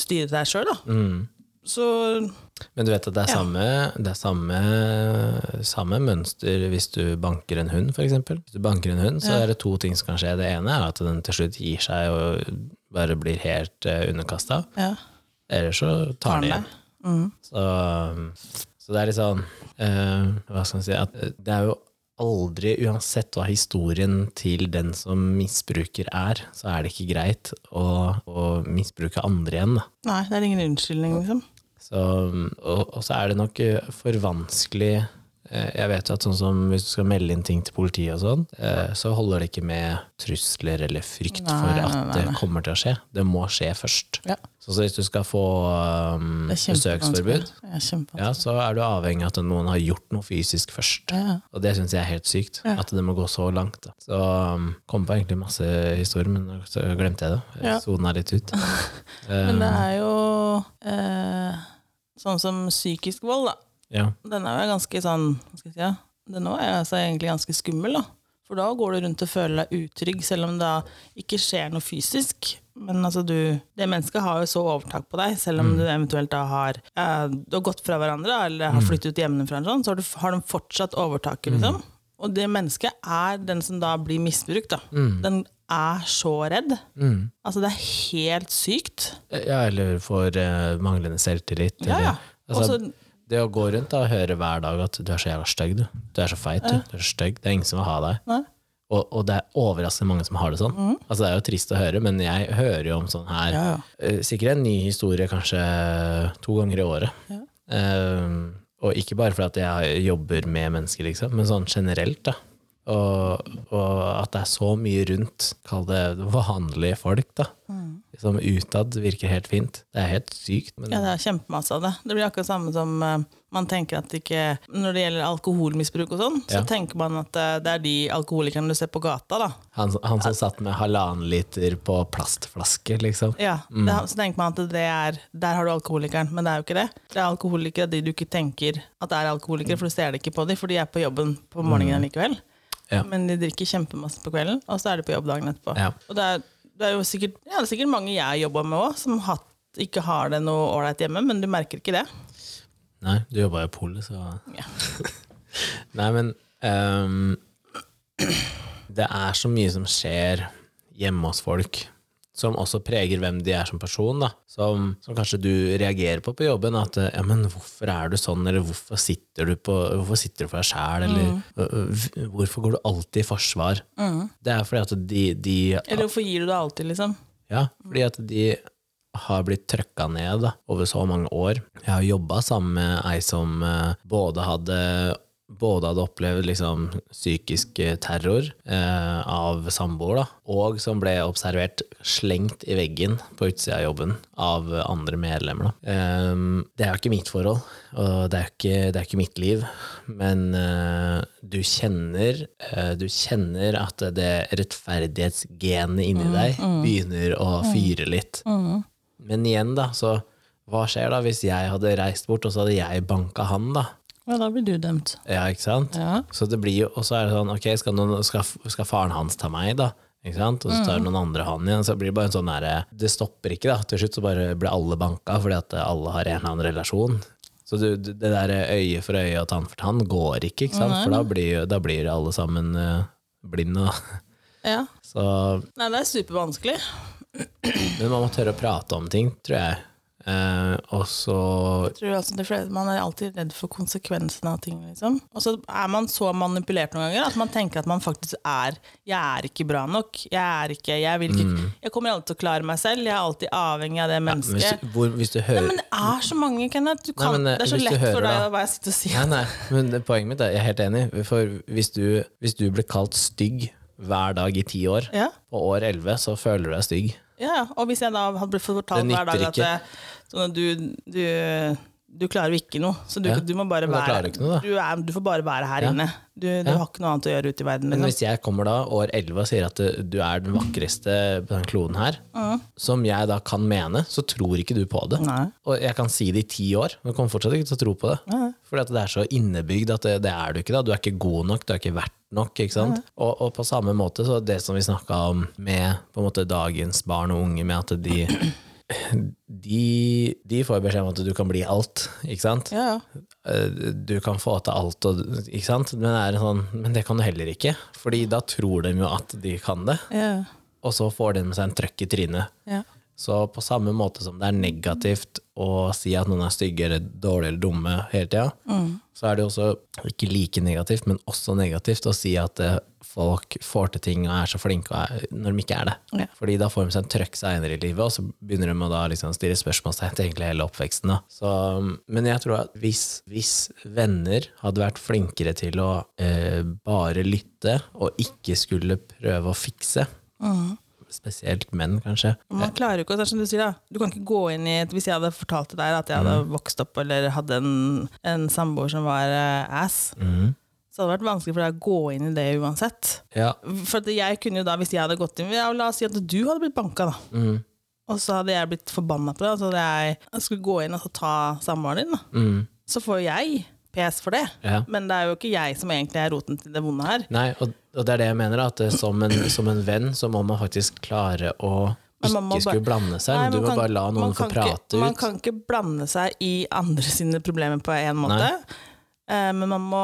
[SPEAKER 2] styre deg sjøl, da,
[SPEAKER 1] Mm.
[SPEAKER 2] så
[SPEAKER 1] Men du vet at det er,
[SPEAKER 2] Ja.
[SPEAKER 1] samme, det er samme, samme mønster hvis du banker en hund, f.eks. Hvis du banker en hund, så
[SPEAKER 2] Ja.
[SPEAKER 1] er det to ting som kan skje. Det ene er at den til slutt gir seg og bare blir helt eh, underkasta.
[SPEAKER 2] ja.
[SPEAKER 1] Eller så tar den igjen.
[SPEAKER 2] Mm.
[SPEAKER 1] Så, så det er litt sånn eh, Hva skal man si at eh, Det er jo aldri, uansett hva historien til den som misbruker er, så er det ikke greit å, å misbruke andre igjen. Da.
[SPEAKER 2] Nei, det er ingen unnskyldning, liksom.
[SPEAKER 1] Så, um, og, og så er det nok eh, for vanskelig eh, jeg vet jo at sånn som Hvis du skal melde inn ting til politiet, og sånn, eh, så holder det ikke med trusler eller frykt for
[SPEAKER 2] Nei,
[SPEAKER 1] at
[SPEAKER 2] nei, nei,
[SPEAKER 1] det kommer til å skje. Det må skje først.
[SPEAKER 2] Ja.
[SPEAKER 1] Så, så hvis du skal få um,
[SPEAKER 2] Det er
[SPEAKER 1] besøksforbud,
[SPEAKER 2] kjempevanskelig. Ja,
[SPEAKER 1] ja,
[SPEAKER 2] kjempevanskelig.
[SPEAKER 1] så er du avhengig av at noen har gjort noe fysisk først.
[SPEAKER 2] Ja.
[SPEAKER 1] Og det syns jeg er helt sykt,
[SPEAKER 2] Ja.
[SPEAKER 1] at det må gå så langt. Da. Så um, kom på egentlig masse historier, men så glemte jeg det.
[SPEAKER 2] Ja.
[SPEAKER 1] Jeg Sona litt ut. Eh,
[SPEAKER 2] Men det
[SPEAKER 1] Um,
[SPEAKER 2] er jo eh, sånn som psykisk vold, da.
[SPEAKER 1] ja.
[SPEAKER 2] Den er jo ganske sånn hva skal jeg si, ja? Den også er jo altså egentlig ganske skummel, da. For da går du rundt og føler deg utrygg, selv om det da ikke skjer noe fysisk. Men altså du, det mennesket har jo så overtak på deg, selv
[SPEAKER 1] Mm.
[SPEAKER 2] om du eventuelt da har, eh, du har gått fra hverandre da, eller
[SPEAKER 1] Mm.
[SPEAKER 2] har flyttet hjemmefra, eller sånn, så har, du, har de fortsatt overtaket. Liksom. Og det mennesket er den som da blir misbrukt. Da. Den er så redd.
[SPEAKER 1] Mm.
[SPEAKER 2] Altså det er helt sykt.
[SPEAKER 1] ja, eller for eh, manglende selvtillit.
[SPEAKER 2] Ja, ja.
[SPEAKER 1] Eller, altså,
[SPEAKER 2] Også-
[SPEAKER 1] det å gå rundt da, og høre hver dag at du er så jævla stygg, du. Du er så feit, du. Du er så stygg. Det er ingen som vil ha deg.
[SPEAKER 2] Nei. Mm.
[SPEAKER 1] Og, og det er overraskende mange som har det sånn. Altså, det er jo trist å høre, men jeg hører jo om sånn her
[SPEAKER 2] Ja, ja.
[SPEAKER 1] Eh, sikkert en ny historie kanskje to ganger i året.
[SPEAKER 2] Ja.
[SPEAKER 1] Eh, og ikke bare fordi at jeg jobber med mennesker, liksom, men sånn generelt. da. Og, og at det er så mye rundt, kall det vanlige folk, da.
[SPEAKER 2] Mm.
[SPEAKER 1] Som utad virker helt fint. Det er helt sykt. Men,
[SPEAKER 2] Ja, det er kjempemasse av det. Det blir akkurat samme som eh, man tenker at ikke Når det gjelder alkoholmisbruk og sånn, så
[SPEAKER 1] Ja.
[SPEAKER 2] tenker man at eh, det er de alkoholikerne du ser på gata, da.
[SPEAKER 1] han, han som satt med halvannen liter på plastflaske, liksom.
[SPEAKER 2] Ja, det, Så tenker man at det er Der har du alkoholikeren, men det er jo ikke det. Det er alkoholikere, de du ikke tenker at er alkoholikere, for du ser det ikke på dem, for de er på jobben på morgenen likevel.
[SPEAKER 1] Mm. Ja.
[SPEAKER 2] Men de drikker kjempemasse på kvelden, og så er de på jobb dagen etterpå.
[SPEAKER 1] Ja.
[SPEAKER 2] Og det er, det er jo sikkert, ja, det er sikkert mange jeg jobber med òg, som hatt, ikke har det noe ålreit hjemme, men du merker ikke det.
[SPEAKER 1] Nei, du jobba jo i polet, så
[SPEAKER 2] Ja.
[SPEAKER 1] Nei, men ehm, Det er så mye som skjer hjemme hos folk som også preger hvem de er som person, da. Som, som kanskje du reagerer på på jobben, at eh, ja, men hvorfor er du sånn, eller hvorfor sitter du, på, hvorfor sitter du for deg sjæl, eller øh, øh, hvorfor går du alltid i forsvar? Det er fordi at de, de
[SPEAKER 2] Eller hvorfor gir du det alltid, liksom?
[SPEAKER 1] ja, fordi at de har blitt trøkka ned da, over så mange år. Jeg har jobba sammen med ei som eh, både hadde både hadde opplevd liksom, psykisk eh, terror eh, av samboer, da, og som ble observert slengt i veggen på utsida av jobben av eh, andre medlemmer. Da. Ehm, det er jo ikke mitt forhold, og det er jo ikke, det er ikke mitt liv, men eh, du, kjenner, eh, du kjenner at det rettferdighetsgenet inni deg begynner å fyre litt. Men igjen, da, så hva skjer da hvis jeg hadde reist bort, og så hadde jeg banka han, da?
[SPEAKER 2] Ja, da blir du dømt.
[SPEAKER 1] Ja, ikke sant?
[SPEAKER 2] Ja.
[SPEAKER 1] Så det blir jo, og så er det sånn, ok, skal, noen, skal, skal faren hans ta meg, da? Ikke sant? Og så tar noen andre han igjen, så blir det bare en sånn derre Det stopper ikke, da. Til slutt så bare ble alle banka, fordi at alle har en eller annen relasjon. Så du, du- det derre øye for øye og tann for tann går ikke, ikke sant? For da blir, jo- da blir alle sammen eh, blinde. da.
[SPEAKER 2] ja.
[SPEAKER 1] Så
[SPEAKER 2] Nei, det er supervanskelig.
[SPEAKER 1] Men man må tørre å prate om ting, tror jeg. Eh, og så
[SPEAKER 2] tror altså det fleste, Man er alltid redd for konsekvensene av ting. liksom. Og så er man så manipulert noen ganger at man tenker at man faktisk er Jeg er ikke bra nok. Jeg er ikke, jeg vil ikke, jeg kommer alltid til å klare meg selv. Jeg er alltid avhengig av det mennesket.
[SPEAKER 1] Mm. hvis, du- hvor, hvis du
[SPEAKER 2] Nei,
[SPEAKER 1] hører
[SPEAKER 2] men det er så mange, Kenneth. Du kan,
[SPEAKER 1] men, eh,
[SPEAKER 2] det er så
[SPEAKER 1] hvis du
[SPEAKER 2] lett
[SPEAKER 1] hører
[SPEAKER 2] for deg
[SPEAKER 1] da-
[SPEAKER 2] å bare sitte og si
[SPEAKER 1] Nei, nei, men det- poenget mitt er, jeg er helt enig. For hvis du, hvis du blir kalt stygg hver dag i ti år,
[SPEAKER 2] ja,
[SPEAKER 1] på år elleve, så føler du deg stygg.
[SPEAKER 2] ja, ja. Og hvis jeg da hadde blitt
[SPEAKER 1] Det
[SPEAKER 2] fortalt hver dag
[SPEAKER 1] nytter
[SPEAKER 2] at eh, sånn at du, du, du klarer jo ikke noe, så du,
[SPEAKER 1] Ja,
[SPEAKER 2] du må bare
[SPEAKER 1] men da
[SPEAKER 2] være
[SPEAKER 1] klarer du ikke noe, da.
[SPEAKER 2] du, er, du får bare være her
[SPEAKER 1] Ja.
[SPEAKER 2] inne. Du, du har ikke noe annet å gjøre ute i verden.
[SPEAKER 1] Men
[SPEAKER 2] Liksom.
[SPEAKER 1] hvis jeg kommer da, år elleve, og sier at eh, du er den vakreste på den kloden her, som jeg da kan mene, så tror ikke du på det.
[SPEAKER 2] Nei.
[SPEAKER 1] Og jeg kan si det i ti år, men du kommer fortsatt ikke til å tro på det. Fordi at det er så innebygd at det, det er du ikke. da. Du er ikke god nok, du er ikke verdt nok. ikke sant? Og, og på samme måte, så det som vi snakka om med på en måte dagens barn og unge, med at de de, de får beskjed om at du kan bli alt, ikke sant?
[SPEAKER 2] Ja, ja.
[SPEAKER 1] Eh, Du kan få til alt, og, ikke sant? Men, det er sånn, men det kan du heller ikke. Fordi da tror de jo at de kan det,
[SPEAKER 2] Ja,
[SPEAKER 1] og så får de med seg en trøkk i trynet.
[SPEAKER 2] ja.
[SPEAKER 1] Så på samme måte som det er negativt å si at noen er stygge eller dårlige eller dumme hele tida, så er det også ikke like negativt, men også negativt å si at eh, folk får til ting og er så flinke og er, når de ikke er det.
[SPEAKER 2] Ja.
[SPEAKER 1] Fordi da får de seg en trøkk seinere i livet, og så begynner de å da liksom stille spørsmålstegn til egentlig hele oppveksten. Da. Så, men jeg tror at hvis, hvis venner hadde vært flinkere til å eh, bare lytte og ikke skulle prøve å fikse, spesielt menn kanskje,
[SPEAKER 2] Man klarer jo ikke, å- det er som du sier da, du kan ikke gå inn i, et- hvis jeg hadde fortalt til deg at jeg
[SPEAKER 1] Mm.
[SPEAKER 2] hadde vokst opp eller hadde en, en samboer som var eh, ass,
[SPEAKER 1] Mm.
[SPEAKER 2] så hadde det vært vanskelig for deg å gå inn i det uansett.
[SPEAKER 1] ja,
[SPEAKER 2] For at jeg kunne jo da, hvis jeg hadde gått inn, ja, la oss si at du hadde blitt banka da,
[SPEAKER 1] Mm.
[SPEAKER 2] og så hadde jeg blitt forbanna på det, og så hadde jeg, jeg skulle gå inn og så ta samboeren din da, så får jo jeg pes for det.
[SPEAKER 1] mm, Ja.
[SPEAKER 2] Men det er jo ikke jeg som egentlig er roten til det vonde her.
[SPEAKER 1] Nei, og, og det er det jeg mener, at eh, som en, som en venn så må man faktisk klare å
[SPEAKER 2] Men
[SPEAKER 1] ikke
[SPEAKER 2] man må bare-
[SPEAKER 1] skulle blande seg.
[SPEAKER 2] Nei,
[SPEAKER 1] du
[SPEAKER 2] man
[SPEAKER 1] må
[SPEAKER 2] kan-
[SPEAKER 1] bare la noen
[SPEAKER 2] man
[SPEAKER 1] få
[SPEAKER 2] kan
[SPEAKER 1] prate
[SPEAKER 2] ikke, Man
[SPEAKER 1] ut.
[SPEAKER 2] kan ikke blande seg i andre sine problemer på en måte. Eh, Men man må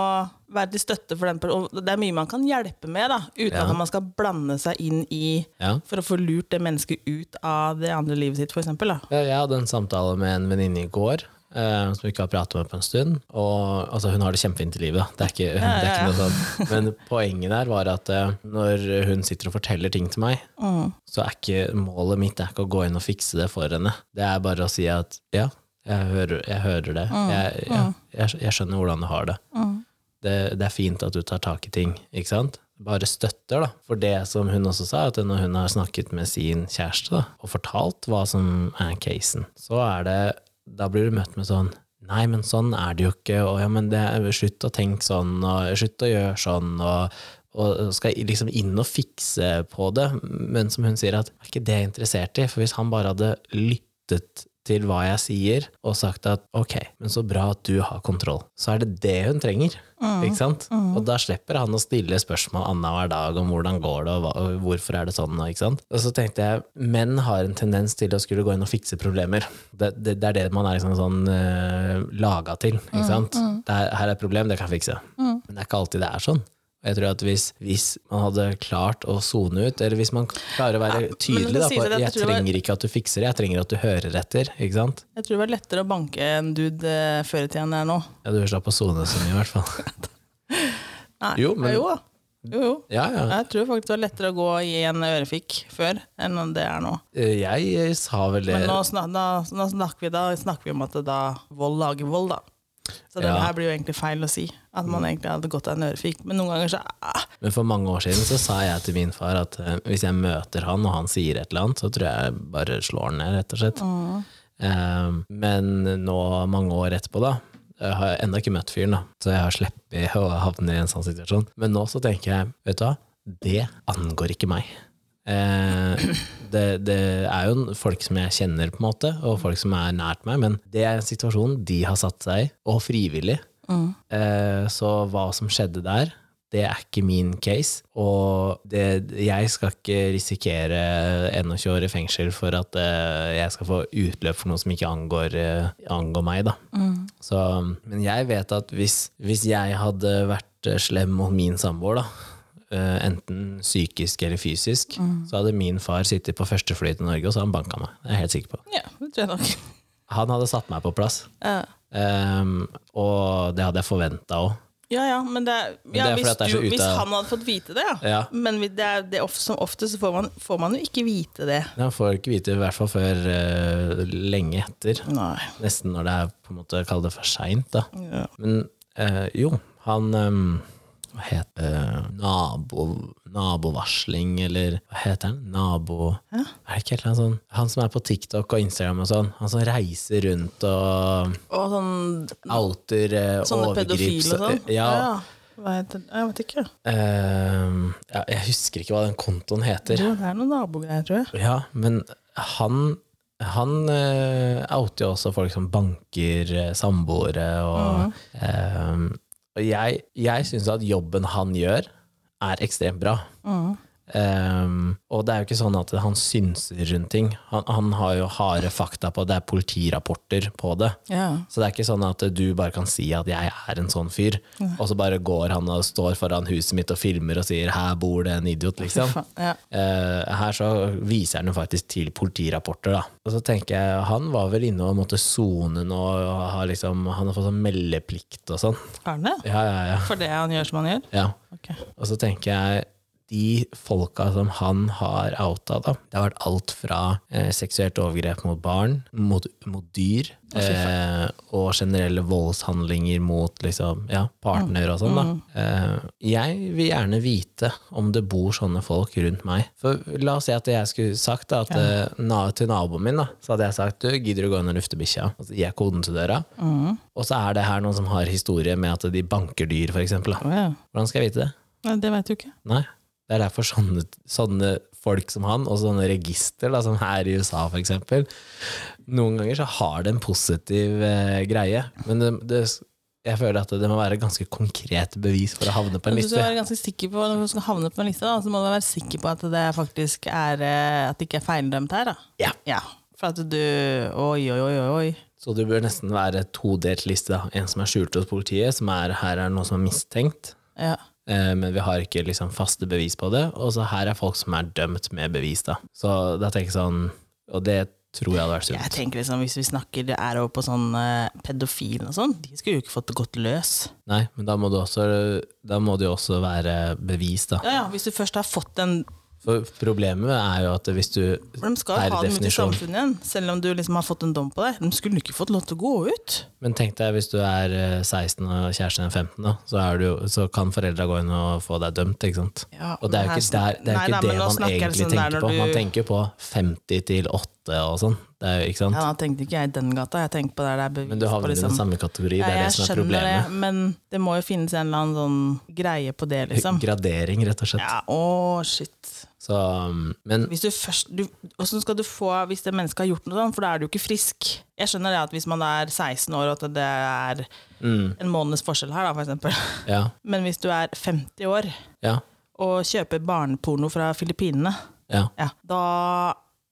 [SPEAKER 2] være til støtte for den per- og Det er mye man kan hjelpe med, da, uten
[SPEAKER 1] Ja.
[SPEAKER 2] at man skal blande seg inn i
[SPEAKER 1] Ja.
[SPEAKER 2] for å få lurt det mennesket ut av det andre livet sitt, f.eks.
[SPEAKER 1] Ja, Jeg hadde en samtale med en venninne i går. eh, som vi ikke har pratet med på en stund. Og altså, hun har det kjempefint i livet, da. Det er ikke, Det er
[SPEAKER 2] ja,
[SPEAKER 1] ikke noe sånn. Men poenget der var at eh, når hun sitter og forteller ting til meg,
[SPEAKER 2] Mm.
[SPEAKER 1] så er ikke målet mitt det er ikke å gå inn og fikse det for henne. Det er bare å si at ja, jeg hører, jeg hører det.
[SPEAKER 2] Mm.
[SPEAKER 1] Jeg, ja, jeg, jeg skjønner hvordan du har det. det. Det er fint at du tar tak i ting, ikke sant? Bare støtter, da. For det som hun også sa, at når hun har snakket med sin kjæreste da, og fortalt hva som er casen, så er det Da blir du møtt med sånn Nei, men sånn er det jo ikke, og ja, men det er, slutt å tenke sånn, og slutt å gjøre sånn, og, og skal liksom inn og fikse på det. Men som hun sier, at er ikke det jeg er interessert i, for hvis han bare hadde lyttet til hva jeg sier, og sagt at ok, men så bra at du har kontroll, så er det det hun trenger.
[SPEAKER 2] Mm.
[SPEAKER 1] Ikke sant? Og da slipper han å stille spørsmål annenhver dag om hvordan går det, og, hva, og hvorfor er det sånn, og ikke sant. Og så tenkte jeg, menn har en tendens til å skulle gå inn og fikse problemer. Det, det, det er det man er liksom sånn
[SPEAKER 2] Mm,
[SPEAKER 1] uh, laga til, ikke sant. Det er, her er et problem, det kan jeg fikse. Men det er ikke alltid det er sånn. Og Og jeg tror at hvis, hvis man hadde klart å sone ut, eller hvis man klarer å være tydelig da,
[SPEAKER 2] sier
[SPEAKER 1] på
[SPEAKER 2] seg det at
[SPEAKER 1] jeg
[SPEAKER 2] jeg tror det var-
[SPEAKER 1] trenger ikke at du fikser det, jeg trenger at du hører etter, ikke sant?
[SPEAKER 2] Jeg tror det var lettere å banke en dude eh, før i tida enn det er nå.
[SPEAKER 1] Ja, du slapp å sone så mye i hvert fall.
[SPEAKER 2] Nei.
[SPEAKER 1] Jo, men-
[SPEAKER 2] Ja, jo, da. jo, jo.
[SPEAKER 1] Ja, ja.
[SPEAKER 2] Jeg tror faktisk det var lettere å gå i en ørefik før enn det er nå.
[SPEAKER 1] Eh, Jeg eh, sa vel det
[SPEAKER 2] Men nå, snak, da, nå snakker, vi, da, snakker vi om at det da vold lager vold, da. Så det
[SPEAKER 1] Ja. Mm.
[SPEAKER 2] her blir jo egentlig feil å si. At man egentlig hadde gått av en ørefik. Men noen ganger så ah,
[SPEAKER 1] Men for mange år siden så sa jeg til min far at eh, hvis jeg møter han og han sier et eller annet, så tror jeg bare slår han ned, rett og slett. Eh, men nå, mange år etterpå, da, jeg har jeg ennå ikke møtt fyren, da, så jeg har sluppet å havne i en sånn situasjon. Men nå så tenker jeg, vet du hva, det angår ikke meg. Eh, det, det er jo en- folk som jeg kjenner, på en måte, og folk som er nært meg, men det er situasjonen de har satt seg i, og frivillig. Eh, så hva som skjedde der, det er ikke min case. Og det, jeg skal ikke risikere 21 år i fengsel for at eh, jeg skal få utløp for noe som ikke angår, eh, angår meg, da. Så, men jeg vet at hvis, hvis jeg hadde vært eh, slem mot min samboer, da, eh, enten psykisk eller fysisk, så hadde min far sittet på første fly til Norge, og så hadde han banka meg. Det er jeg helt sikker på.
[SPEAKER 2] Ja, det tror jeg nok.
[SPEAKER 1] Han hadde satt meg på plass,
[SPEAKER 2] Eh,
[SPEAKER 1] Ehm, og det hadde jeg forventa òg.
[SPEAKER 2] Ja ja, men det, er-
[SPEAKER 1] det
[SPEAKER 2] ja,
[SPEAKER 1] er fordi
[SPEAKER 2] hvis,
[SPEAKER 1] at det er
[SPEAKER 2] du,
[SPEAKER 1] så ute
[SPEAKER 2] hvis
[SPEAKER 1] av-
[SPEAKER 2] han hadde fått vite det, ja.
[SPEAKER 1] Ja.
[SPEAKER 2] Men vi- det er, det er ofte, som oftest så får man, får man jo ikke vite det.
[SPEAKER 1] Han får ikke vite, i hvert fall før eh, lenge etter.
[SPEAKER 2] Nei.
[SPEAKER 1] Nesten når det er på en måte å kalle det for seint, da.
[SPEAKER 2] Ja.
[SPEAKER 1] Men eh, jo, han ehm, Hva heter det? Nabo, nabovarsling, eller hva heter han? Nabo... Er det ikke helt sånn Han som er på TikTok og Instagram og sånn, han som reiser rundt og
[SPEAKER 2] Og sånn,
[SPEAKER 1] outer eh,
[SPEAKER 2] sånne pedofile og sånn.
[SPEAKER 1] Ja.
[SPEAKER 2] ja. Hva heter det? Jeg vet ikke.
[SPEAKER 1] ehm, ja, jeg husker ikke hva den kontoen heter.
[SPEAKER 2] Jo, det er noen nabogreier, tror jeg.
[SPEAKER 1] Ja, men han han eh, outer jo også folk som banker eh, samboere og eh, Og jeg, jeg syns at jobben han gjør, er ekstremt bra. Eh, og det er jo ikke sånn at han synser rundt ting. Han, han har jo harde fakta på det, det er politirapporter på det.
[SPEAKER 2] Ja.
[SPEAKER 1] Så det er ikke sånn at du bare kan si at jeg er en sånn fyr, og så bare går han og står foran huset mitt og filmer og sier 'her bor det en idiot', liksom.
[SPEAKER 2] Faen, ja.
[SPEAKER 1] Eh, her så viser han jo faktisk til politirapporter, da. Og så tenker jeg, han var vel inne og måtte sone nå, og har liksom, han har fått sånn meldeplikt og sånn.
[SPEAKER 2] Er den det?
[SPEAKER 1] Ja, ja, ja.
[SPEAKER 2] For det han gjør som han gjør?
[SPEAKER 1] ja.
[SPEAKER 2] Ok.
[SPEAKER 1] Og så tenker jeg, de folka som han har outa, da. Det har vært alt fra eh, seksuelt overgrep mot barn, mot, mot dyr, eh, og generelle voldshandlinger mot liksom, ja, partner og sånn, da. Eh, jeg vil gjerne vite om det bor sånne folk rundt meg. For la oss si at jeg skulle sagt da, at, eh, na, til naboen min, da, så hadde jeg sagt du, gidder du gå inn og lufte bikkja? Og så gir jeg koden til døra. Og så er det her noen som har historie med at de banker dyr, f.eks.
[SPEAKER 2] Å, ja.
[SPEAKER 1] Hvordan skal jeg vite det?
[SPEAKER 2] Nei, det veit du ikke.
[SPEAKER 1] Nei. Det er derfor sånne, sånne folk som han, og sånne register, da, som her i USA for eksempel, noen ganger så har det en positiv eh, greie, men det, det, jeg føler at det må være ganske konkret bevis for å havne på en
[SPEAKER 2] Men Hvis du
[SPEAKER 1] liste.
[SPEAKER 2] er ganske sikker på når du skal havne på en liste, da, så må du være sikker på at det faktisk er eh, At det ikke er feildømt her. Da.
[SPEAKER 1] Ja.
[SPEAKER 2] For at du Oi, oi, oi, oi, oi.
[SPEAKER 1] Så det bør nesten være et todelt liste. Da. En som er skjult hos politiet, som er her er noen som er mistenkt,
[SPEAKER 2] Ja.
[SPEAKER 1] eh, men vi har ikke liksom faste bevis på det, og så her er folk som er dømt med bevis. Da. Så da tenker jeg sånn, og det tror jeg hadde vært
[SPEAKER 2] Jeg
[SPEAKER 1] sunt.
[SPEAKER 2] tenker liksom, Hvis vi snakker det er over på sånn eh, pedofil og sånn, de skulle jo ikke fått det godt løs.
[SPEAKER 1] Nei, men da må det også, da må det jo også være bevis, da.
[SPEAKER 2] Ja, ja, Hvis du først har fått den
[SPEAKER 1] For problemet er jo at hvis du
[SPEAKER 2] For de skal
[SPEAKER 1] Per
[SPEAKER 2] jo ha dem ut i
[SPEAKER 1] definisjon.
[SPEAKER 2] samfunnet igjen, selv om du liksom har fått en dom på deg. De skulle ikke fått lov til å gå ut.
[SPEAKER 1] Men tenk deg hvis du er eh, 16 og kjæresten er 15, da, så, er du, jo- så kan foreldra gå inn og få deg dømt, ikke sant?
[SPEAKER 2] Ja,
[SPEAKER 1] Og det er jo
[SPEAKER 2] men her
[SPEAKER 1] ikke, der, det, er jo
[SPEAKER 2] snak-
[SPEAKER 1] ikke
[SPEAKER 2] Nei, nei,
[SPEAKER 1] det
[SPEAKER 2] men nå
[SPEAKER 1] man
[SPEAKER 2] snakker jeg
[SPEAKER 1] egentlig
[SPEAKER 2] sånn der
[SPEAKER 1] tenker
[SPEAKER 2] når
[SPEAKER 1] på. Man
[SPEAKER 2] du-
[SPEAKER 1] tenker jo på 50 til 8 og sånn, det er, jo- ikke sant?
[SPEAKER 2] Ja, da tenkte ikke jeg i den gata. Jeg tenkte på der det er bevis
[SPEAKER 1] Men du havner
[SPEAKER 2] på
[SPEAKER 1] i den
[SPEAKER 2] liksom
[SPEAKER 1] samme kategori, sånn det er
[SPEAKER 2] Ja,
[SPEAKER 1] det
[SPEAKER 2] jeg
[SPEAKER 1] som er
[SPEAKER 2] skjønner
[SPEAKER 1] problemet.
[SPEAKER 2] det, men det må jo finnes en eller annen sånn greie på det, liksom.
[SPEAKER 1] Gradering, rett og slett.
[SPEAKER 2] Ja, å, shit.
[SPEAKER 1] Så, um, men
[SPEAKER 2] Hvis du først du, Hvordan skal du få Hvis det mennesket har gjort noe sånt, for da er du jo ikke frisk. Jeg skjønner det at hvis man er 16 år, at det er
[SPEAKER 1] Mm.
[SPEAKER 2] en måneds forskjell her, da, for eksempel.
[SPEAKER 1] ja,
[SPEAKER 2] Men hvis du er 50 år
[SPEAKER 1] ja,
[SPEAKER 2] og kjøper barneporno fra Filippinene,
[SPEAKER 1] ja,
[SPEAKER 2] ja, da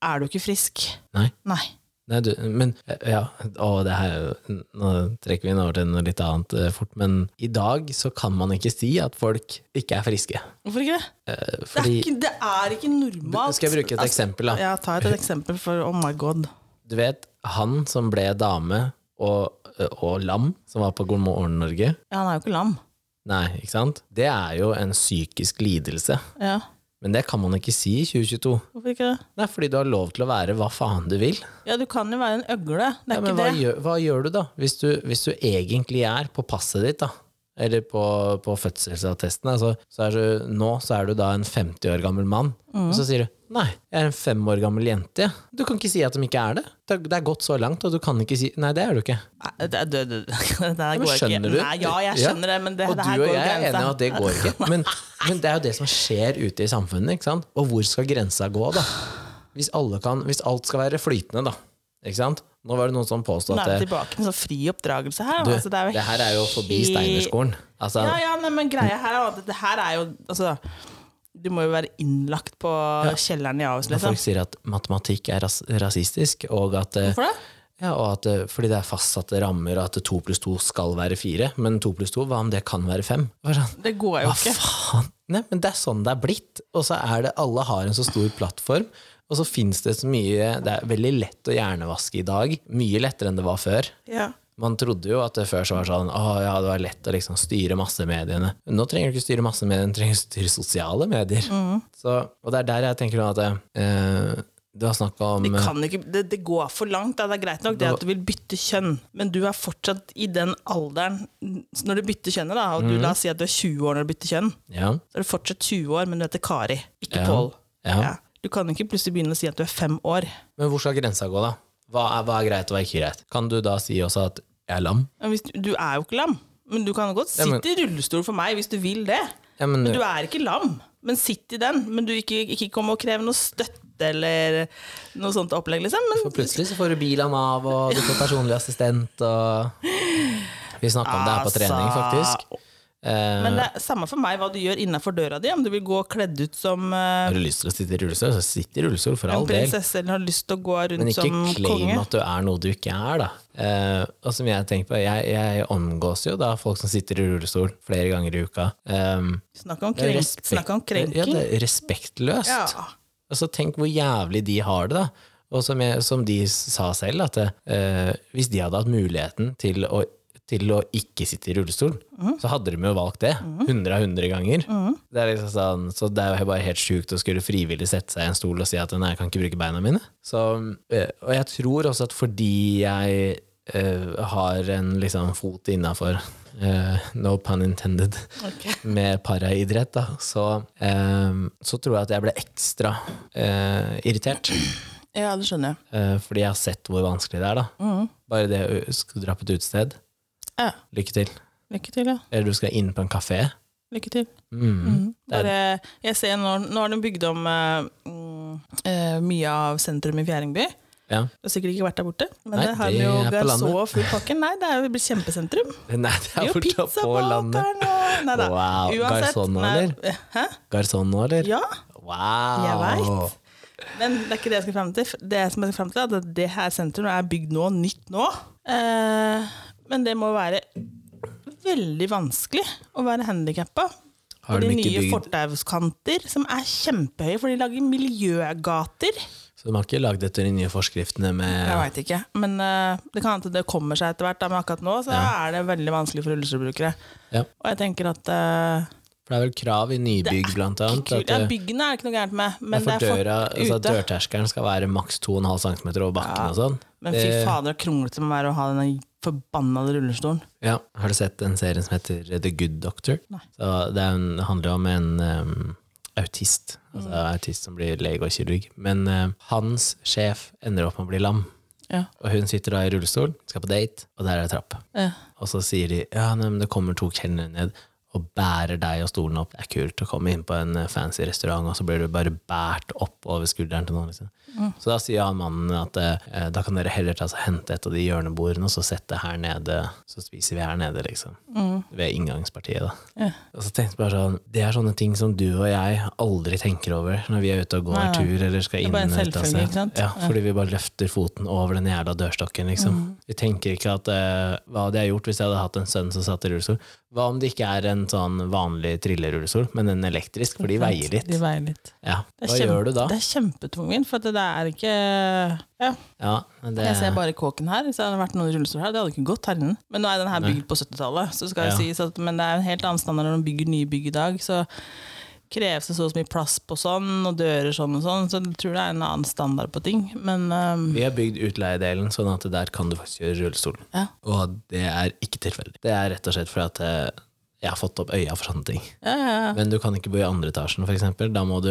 [SPEAKER 2] er du ikke frisk.
[SPEAKER 1] nei.
[SPEAKER 2] Nei.
[SPEAKER 1] Nei, du, men ja, og det her, er jo- nå trekker vi den over til noe litt annet eh, fort, men i dag så kan man ikke si at folk ikke er friske.
[SPEAKER 2] Hvorfor ikke det?
[SPEAKER 1] Eh,
[SPEAKER 2] Det er
[SPEAKER 1] Fordi,
[SPEAKER 2] ikke, det er ikke normalt. altså.
[SPEAKER 1] skal jeg bruke et eksempel da?
[SPEAKER 2] Ja, ta et eksempel for Oh my god.
[SPEAKER 1] Du vet, han som ble dame og, og lam, som var på God morgen Norge,
[SPEAKER 2] Ja, han er jo ikke lam.
[SPEAKER 1] nei, ikke sant? Det er jo en psykisk lidelse,
[SPEAKER 2] Ja,
[SPEAKER 1] men det kan man ikke si i 2022.
[SPEAKER 2] Hvorfor ikke det?
[SPEAKER 1] Nei, fordi du har lov til å være hva faen du vil.
[SPEAKER 2] Ja, du kan jo være en øgle. Det
[SPEAKER 1] Ja,
[SPEAKER 2] er
[SPEAKER 1] men hva
[SPEAKER 2] ikke det.
[SPEAKER 1] gjør, hva gjør du da, hvis du, hvis du egentlig er på passet ditt da, eller på, på fødselsattesten, altså, så er du, nå så er du da en 50 år gammel mann,
[SPEAKER 2] Mm.
[SPEAKER 1] og så sier du, nei, jeg er en 5 år gammel jente. jeg». Du kan ikke si at de ikke er det. Det er- det er gått så langt, og du kan ikke si, nei, det er du ikke.
[SPEAKER 2] Nei, det, det, det, det, det her
[SPEAKER 1] Men
[SPEAKER 2] går ikke.
[SPEAKER 1] skjønner du?
[SPEAKER 2] Nei, ja, jeg
[SPEAKER 1] Ja.
[SPEAKER 2] skjønner det, men det,
[SPEAKER 1] Og du
[SPEAKER 2] det her
[SPEAKER 1] og
[SPEAKER 2] går jo
[SPEAKER 1] jeg er enige
[SPEAKER 2] grensa.
[SPEAKER 1] om at det går ikke. Men, men det er jo det som skjer ute i samfunnet, ikke sant? Og hvor skal grensa gå da? Hvis, alle kan, hvis alt skal være flytende da, ikke sant? Nå var det noen som påstod
[SPEAKER 2] Nå
[SPEAKER 1] at
[SPEAKER 2] er vi
[SPEAKER 1] det,
[SPEAKER 2] tilbake med sånn fri oppdragelse her.
[SPEAKER 1] Du,
[SPEAKER 2] altså, det, er jo
[SPEAKER 1] det her er jo forbi
[SPEAKER 2] helt-
[SPEAKER 1] Steinerskolen. Altså,
[SPEAKER 2] Ja, ja, nei, men greia her er jo at det her er jo Altså, du må jo være innlagt på kjelleren i Ahus,
[SPEAKER 1] når
[SPEAKER 2] liksom.
[SPEAKER 1] folk sier at matematikk er ras rasistisk, og at, eh,
[SPEAKER 2] Hvorfor det?
[SPEAKER 1] ja, og at eh, fordi det er fastsatte rammer, og at to pluss to skal være fire, men to pluss to, hva om det kan være fem? Hva, sånn,
[SPEAKER 2] Det går jo
[SPEAKER 1] hva
[SPEAKER 2] ikke.
[SPEAKER 1] faen? Nei, men det er sånn det er blitt. Og så er det, alle har en så stor plattform, og så finnes det så mye, det er veldig lett å hjernevaske i dag, mye lettere enn det var før.
[SPEAKER 2] Ja.
[SPEAKER 1] Man trodde jo at det før så var sånn Å ja, det var lett å liksom styre massemediene. Nå trenger du ikke styre massemediene, du trenger å styre sosiale medier.
[SPEAKER 2] Mm.
[SPEAKER 1] Så, og det er der jeg tenker nå at eh, Du har snakka om
[SPEAKER 2] Vi kan ikke, det, det går for langt. Da. Det er greit nok det at du vil bytte kjønn, men du er fortsatt i den alderen når du bytter kjønnet, da, og du
[SPEAKER 1] Mm.
[SPEAKER 2] la oss si at du er 20 år når du bytter kjønn,
[SPEAKER 1] ja,
[SPEAKER 2] så er du fortsatt 20 år, men du heter Kari, ikke
[SPEAKER 1] Ja.
[SPEAKER 2] Pål.
[SPEAKER 1] ja.
[SPEAKER 2] Ja. Du kan ikke plutselig begynne å si at du er fem år.
[SPEAKER 1] Men hvor skal grensa gå, da? Hva er, hva er greit og hva er ikke greit? Kan du da si også at jeg er lam?
[SPEAKER 2] Men Hvis du, du er jo ikke lam, men du kan godt
[SPEAKER 1] Ja,
[SPEAKER 2] sitte
[SPEAKER 1] men-
[SPEAKER 2] i rullestol for meg hvis du vil det.
[SPEAKER 1] Ja, men,
[SPEAKER 2] Du er ikke lam, men sitt i den. Men du ikke, ikke kom og krev noe støtte eller noe sånt opplegg, liksom. Men
[SPEAKER 1] for plutselig så får du bil av Nav, og du får personlig assistent, og Vi snakka om det her på trening,
[SPEAKER 2] Altså-
[SPEAKER 1] faktisk. Eh,
[SPEAKER 2] Men det er samme for meg hva du gjør innenfor døra di, om du vil gå kledd ut som eh,
[SPEAKER 1] har du lyst til å sitte i rullestol, så sitt i rullestol, for all
[SPEAKER 2] en
[SPEAKER 1] del.
[SPEAKER 2] prinsesse, eller har lyst til å gå
[SPEAKER 1] Men
[SPEAKER 2] rundt
[SPEAKER 1] ikke
[SPEAKER 2] som
[SPEAKER 1] claim
[SPEAKER 2] konge.
[SPEAKER 1] at du er noe du ikke er, da. Eh, og som jeg tenker på, jeg, jeg omgås jo da folk som sitter i rullestol flere ganger i uka. Um,
[SPEAKER 2] Snakk om, krenk, snakk om
[SPEAKER 1] Ja,
[SPEAKER 2] krenking.
[SPEAKER 1] det er respektløst.
[SPEAKER 2] Ja.
[SPEAKER 1] Altså, tenk hvor jævlig de har det, da. Og som, jeg, som de sa selv, at eh, hvis de hadde hatt muligheten til å, til å ikke sitte i rullestol, så hadde de jo valgt det. Hundre av hundre ganger. Det er liksom sånn, så det er jo bare helt sjukt å skulle frivillig sette seg i en stol og si at nei, jeg kan ikke bruke beina mine. Så, eh, og jeg tror også at fordi jeg eh, har en liksom fot innafor No pun intended med paraidrett, da, så, ehm, så tror jeg at jeg ble ekstra eh, irritert.
[SPEAKER 2] Ja, det skjønner jeg.
[SPEAKER 1] eh, fordi jeg har sett hvor vanskelig det er. da.
[SPEAKER 2] Mm.
[SPEAKER 1] Bare det å skal dra på et utested.
[SPEAKER 2] Ja.
[SPEAKER 1] Lykke til.
[SPEAKER 2] Lykke til, ja.
[SPEAKER 1] Eller du skal inn på en kafé.
[SPEAKER 2] Lykke til.
[SPEAKER 1] Mm.
[SPEAKER 2] Mm. Bare, jeg ser nå, nå har de bygd om eh, mm, eh, mye av sentrum i Fjerdingby.
[SPEAKER 1] Ja.
[SPEAKER 2] Du har sikkert ikke vært der borte, men
[SPEAKER 1] Nei,
[SPEAKER 2] det har
[SPEAKER 1] det
[SPEAKER 2] de jo
[SPEAKER 1] er på
[SPEAKER 2] så
[SPEAKER 1] landet.
[SPEAKER 2] full pakke. Nei, det er jo blitt kjempesentrum.
[SPEAKER 1] Nei, det
[SPEAKER 2] Det er
[SPEAKER 1] er
[SPEAKER 2] jo
[SPEAKER 1] fortsatt på landet.
[SPEAKER 2] pizzabåter nå! Nei da.
[SPEAKER 1] Wow.
[SPEAKER 2] Uansett,
[SPEAKER 1] Garçon nå,
[SPEAKER 2] nei,
[SPEAKER 1] eller?
[SPEAKER 2] Hæ?
[SPEAKER 1] Garson nå, eller?
[SPEAKER 2] Ja.
[SPEAKER 1] Wow!
[SPEAKER 2] Jeg vet. Men det er ikke det jeg skal frem til. Det som jeg skal frem til er at det her sentrum er bygd nå, nytt nå. Eh, men det må være veldig vanskelig å være handikappa.
[SPEAKER 1] Har
[SPEAKER 2] Og
[SPEAKER 1] de
[SPEAKER 2] de
[SPEAKER 1] ikke
[SPEAKER 2] nye
[SPEAKER 1] bygd-
[SPEAKER 2] fortauskanter, som er kjempehøye, for de lager miljøgater.
[SPEAKER 1] Så de har ikke lagd etter de nye forskriftene med
[SPEAKER 2] Jeg veit ikke, men eh, det kan hende at det kommer seg etter hvert. da, Men akkurat nå så er det veldig vanskelig for rullestolbrukere.
[SPEAKER 1] Ja.
[SPEAKER 2] Og jeg tenker at eh,
[SPEAKER 1] For det er vel krav i nybygg, blant annet.
[SPEAKER 2] kul,
[SPEAKER 1] at,
[SPEAKER 2] ja,
[SPEAKER 1] eh,
[SPEAKER 2] Byggene er det ikke noe gærent med,
[SPEAKER 1] Ja,
[SPEAKER 2] men det
[SPEAKER 1] for
[SPEAKER 2] er folk
[SPEAKER 1] døra, altså
[SPEAKER 2] ute.
[SPEAKER 1] dørterskelen skal være maks 2,5 cm over bakken og sånn.
[SPEAKER 2] Men fy fader, så kronglete det må være å ha den forbanna rullestolen.
[SPEAKER 1] Ja, Har du sett en serie som heter The Good Doctor? Så det, er en, det handler jo om en em, autist. Altså autist som blir lege og kirurg. Men em, hans sjef ender opp med å bli lam.
[SPEAKER 2] Ja.
[SPEAKER 1] Og hun sitter da i rullestol, skal på date, og der er det trapp.
[SPEAKER 2] Ja.
[SPEAKER 1] Og så sier de ja, nei, men det kommer to kelnere ned. og bærer deg og stolen opp. Det er kult å komme inn på en eh, fancy restaurant, og så blir du bare bært opp over skulderen til noen. Liksom.
[SPEAKER 2] Mm,
[SPEAKER 1] Så da sier han mannen at eh, da kan dere heller ta, så hente et av de hjørnebordene, og så sette her nede, så spiser vi her nede, liksom.
[SPEAKER 2] mm.
[SPEAKER 1] Ved inngangspartiet, da.
[SPEAKER 2] Ja.
[SPEAKER 1] Og så tenkte jeg bare sånn, Det er sånne ting som du og jeg aldri tenker over når vi er ute og går
[SPEAKER 2] Nei, nei.
[SPEAKER 1] tur eller skal
[SPEAKER 2] Det er
[SPEAKER 1] inn
[SPEAKER 2] bare
[SPEAKER 1] og
[SPEAKER 2] en
[SPEAKER 1] ut av
[SPEAKER 2] selvfølge,
[SPEAKER 1] sted.
[SPEAKER 2] ikke sant?
[SPEAKER 1] Ja, fordi vi bare løfter foten over den jævla dørstokken, liksom.
[SPEAKER 2] Mm.
[SPEAKER 1] Vi tenker ikke at eh, hva hadde jeg gjort hvis jeg hadde hatt en sønn som satt i rullestol? Hva om det ikke er en sånn vanlig trillerullestol, men en elektrisk, for de veier litt?
[SPEAKER 2] De veier litt.
[SPEAKER 1] Ja,
[SPEAKER 2] Det
[SPEAKER 1] hva
[SPEAKER 2] er kjempe-
[SPEAKER 1] gjør du da?
[SPEAKER 2] Det er kjempetvungent, for at det er ikke ja,
[SPEAKER 1] Ja, men det,
[SPEAKER 2] Jeg ser bare kåken her. Hvis det hadde vært noen rullestol her, det hadde ikke gått her inne. Men nå er den her bygd på 70-tallet, så skal
[SPEAKER 1] Ja.
[SPEAKER 2] det sies at Men det er en helt annen standard når de bygger nye bygg i dag. Så kreves det så og så mye plass på sånn, og dører sånn og sånn, så jeg tror det er en annen standard på ting. Men øhm,
[SPEAKER 1] vi har bygd utleiedelen sånn at der kan du faktisk gjøre rullestol.
[SPEAKER 2] Ja.
[SPEAKER 1] Og det er ikke tilfeldig. Det er rett og slett fordi at eh, jeg har fått opp øya for sånne ting.
[SPEAKER 2] ja, ja, ja.
[SPEAKER 1] Men du kan ikke bo i andre etasjen, for eksempel. Da må du,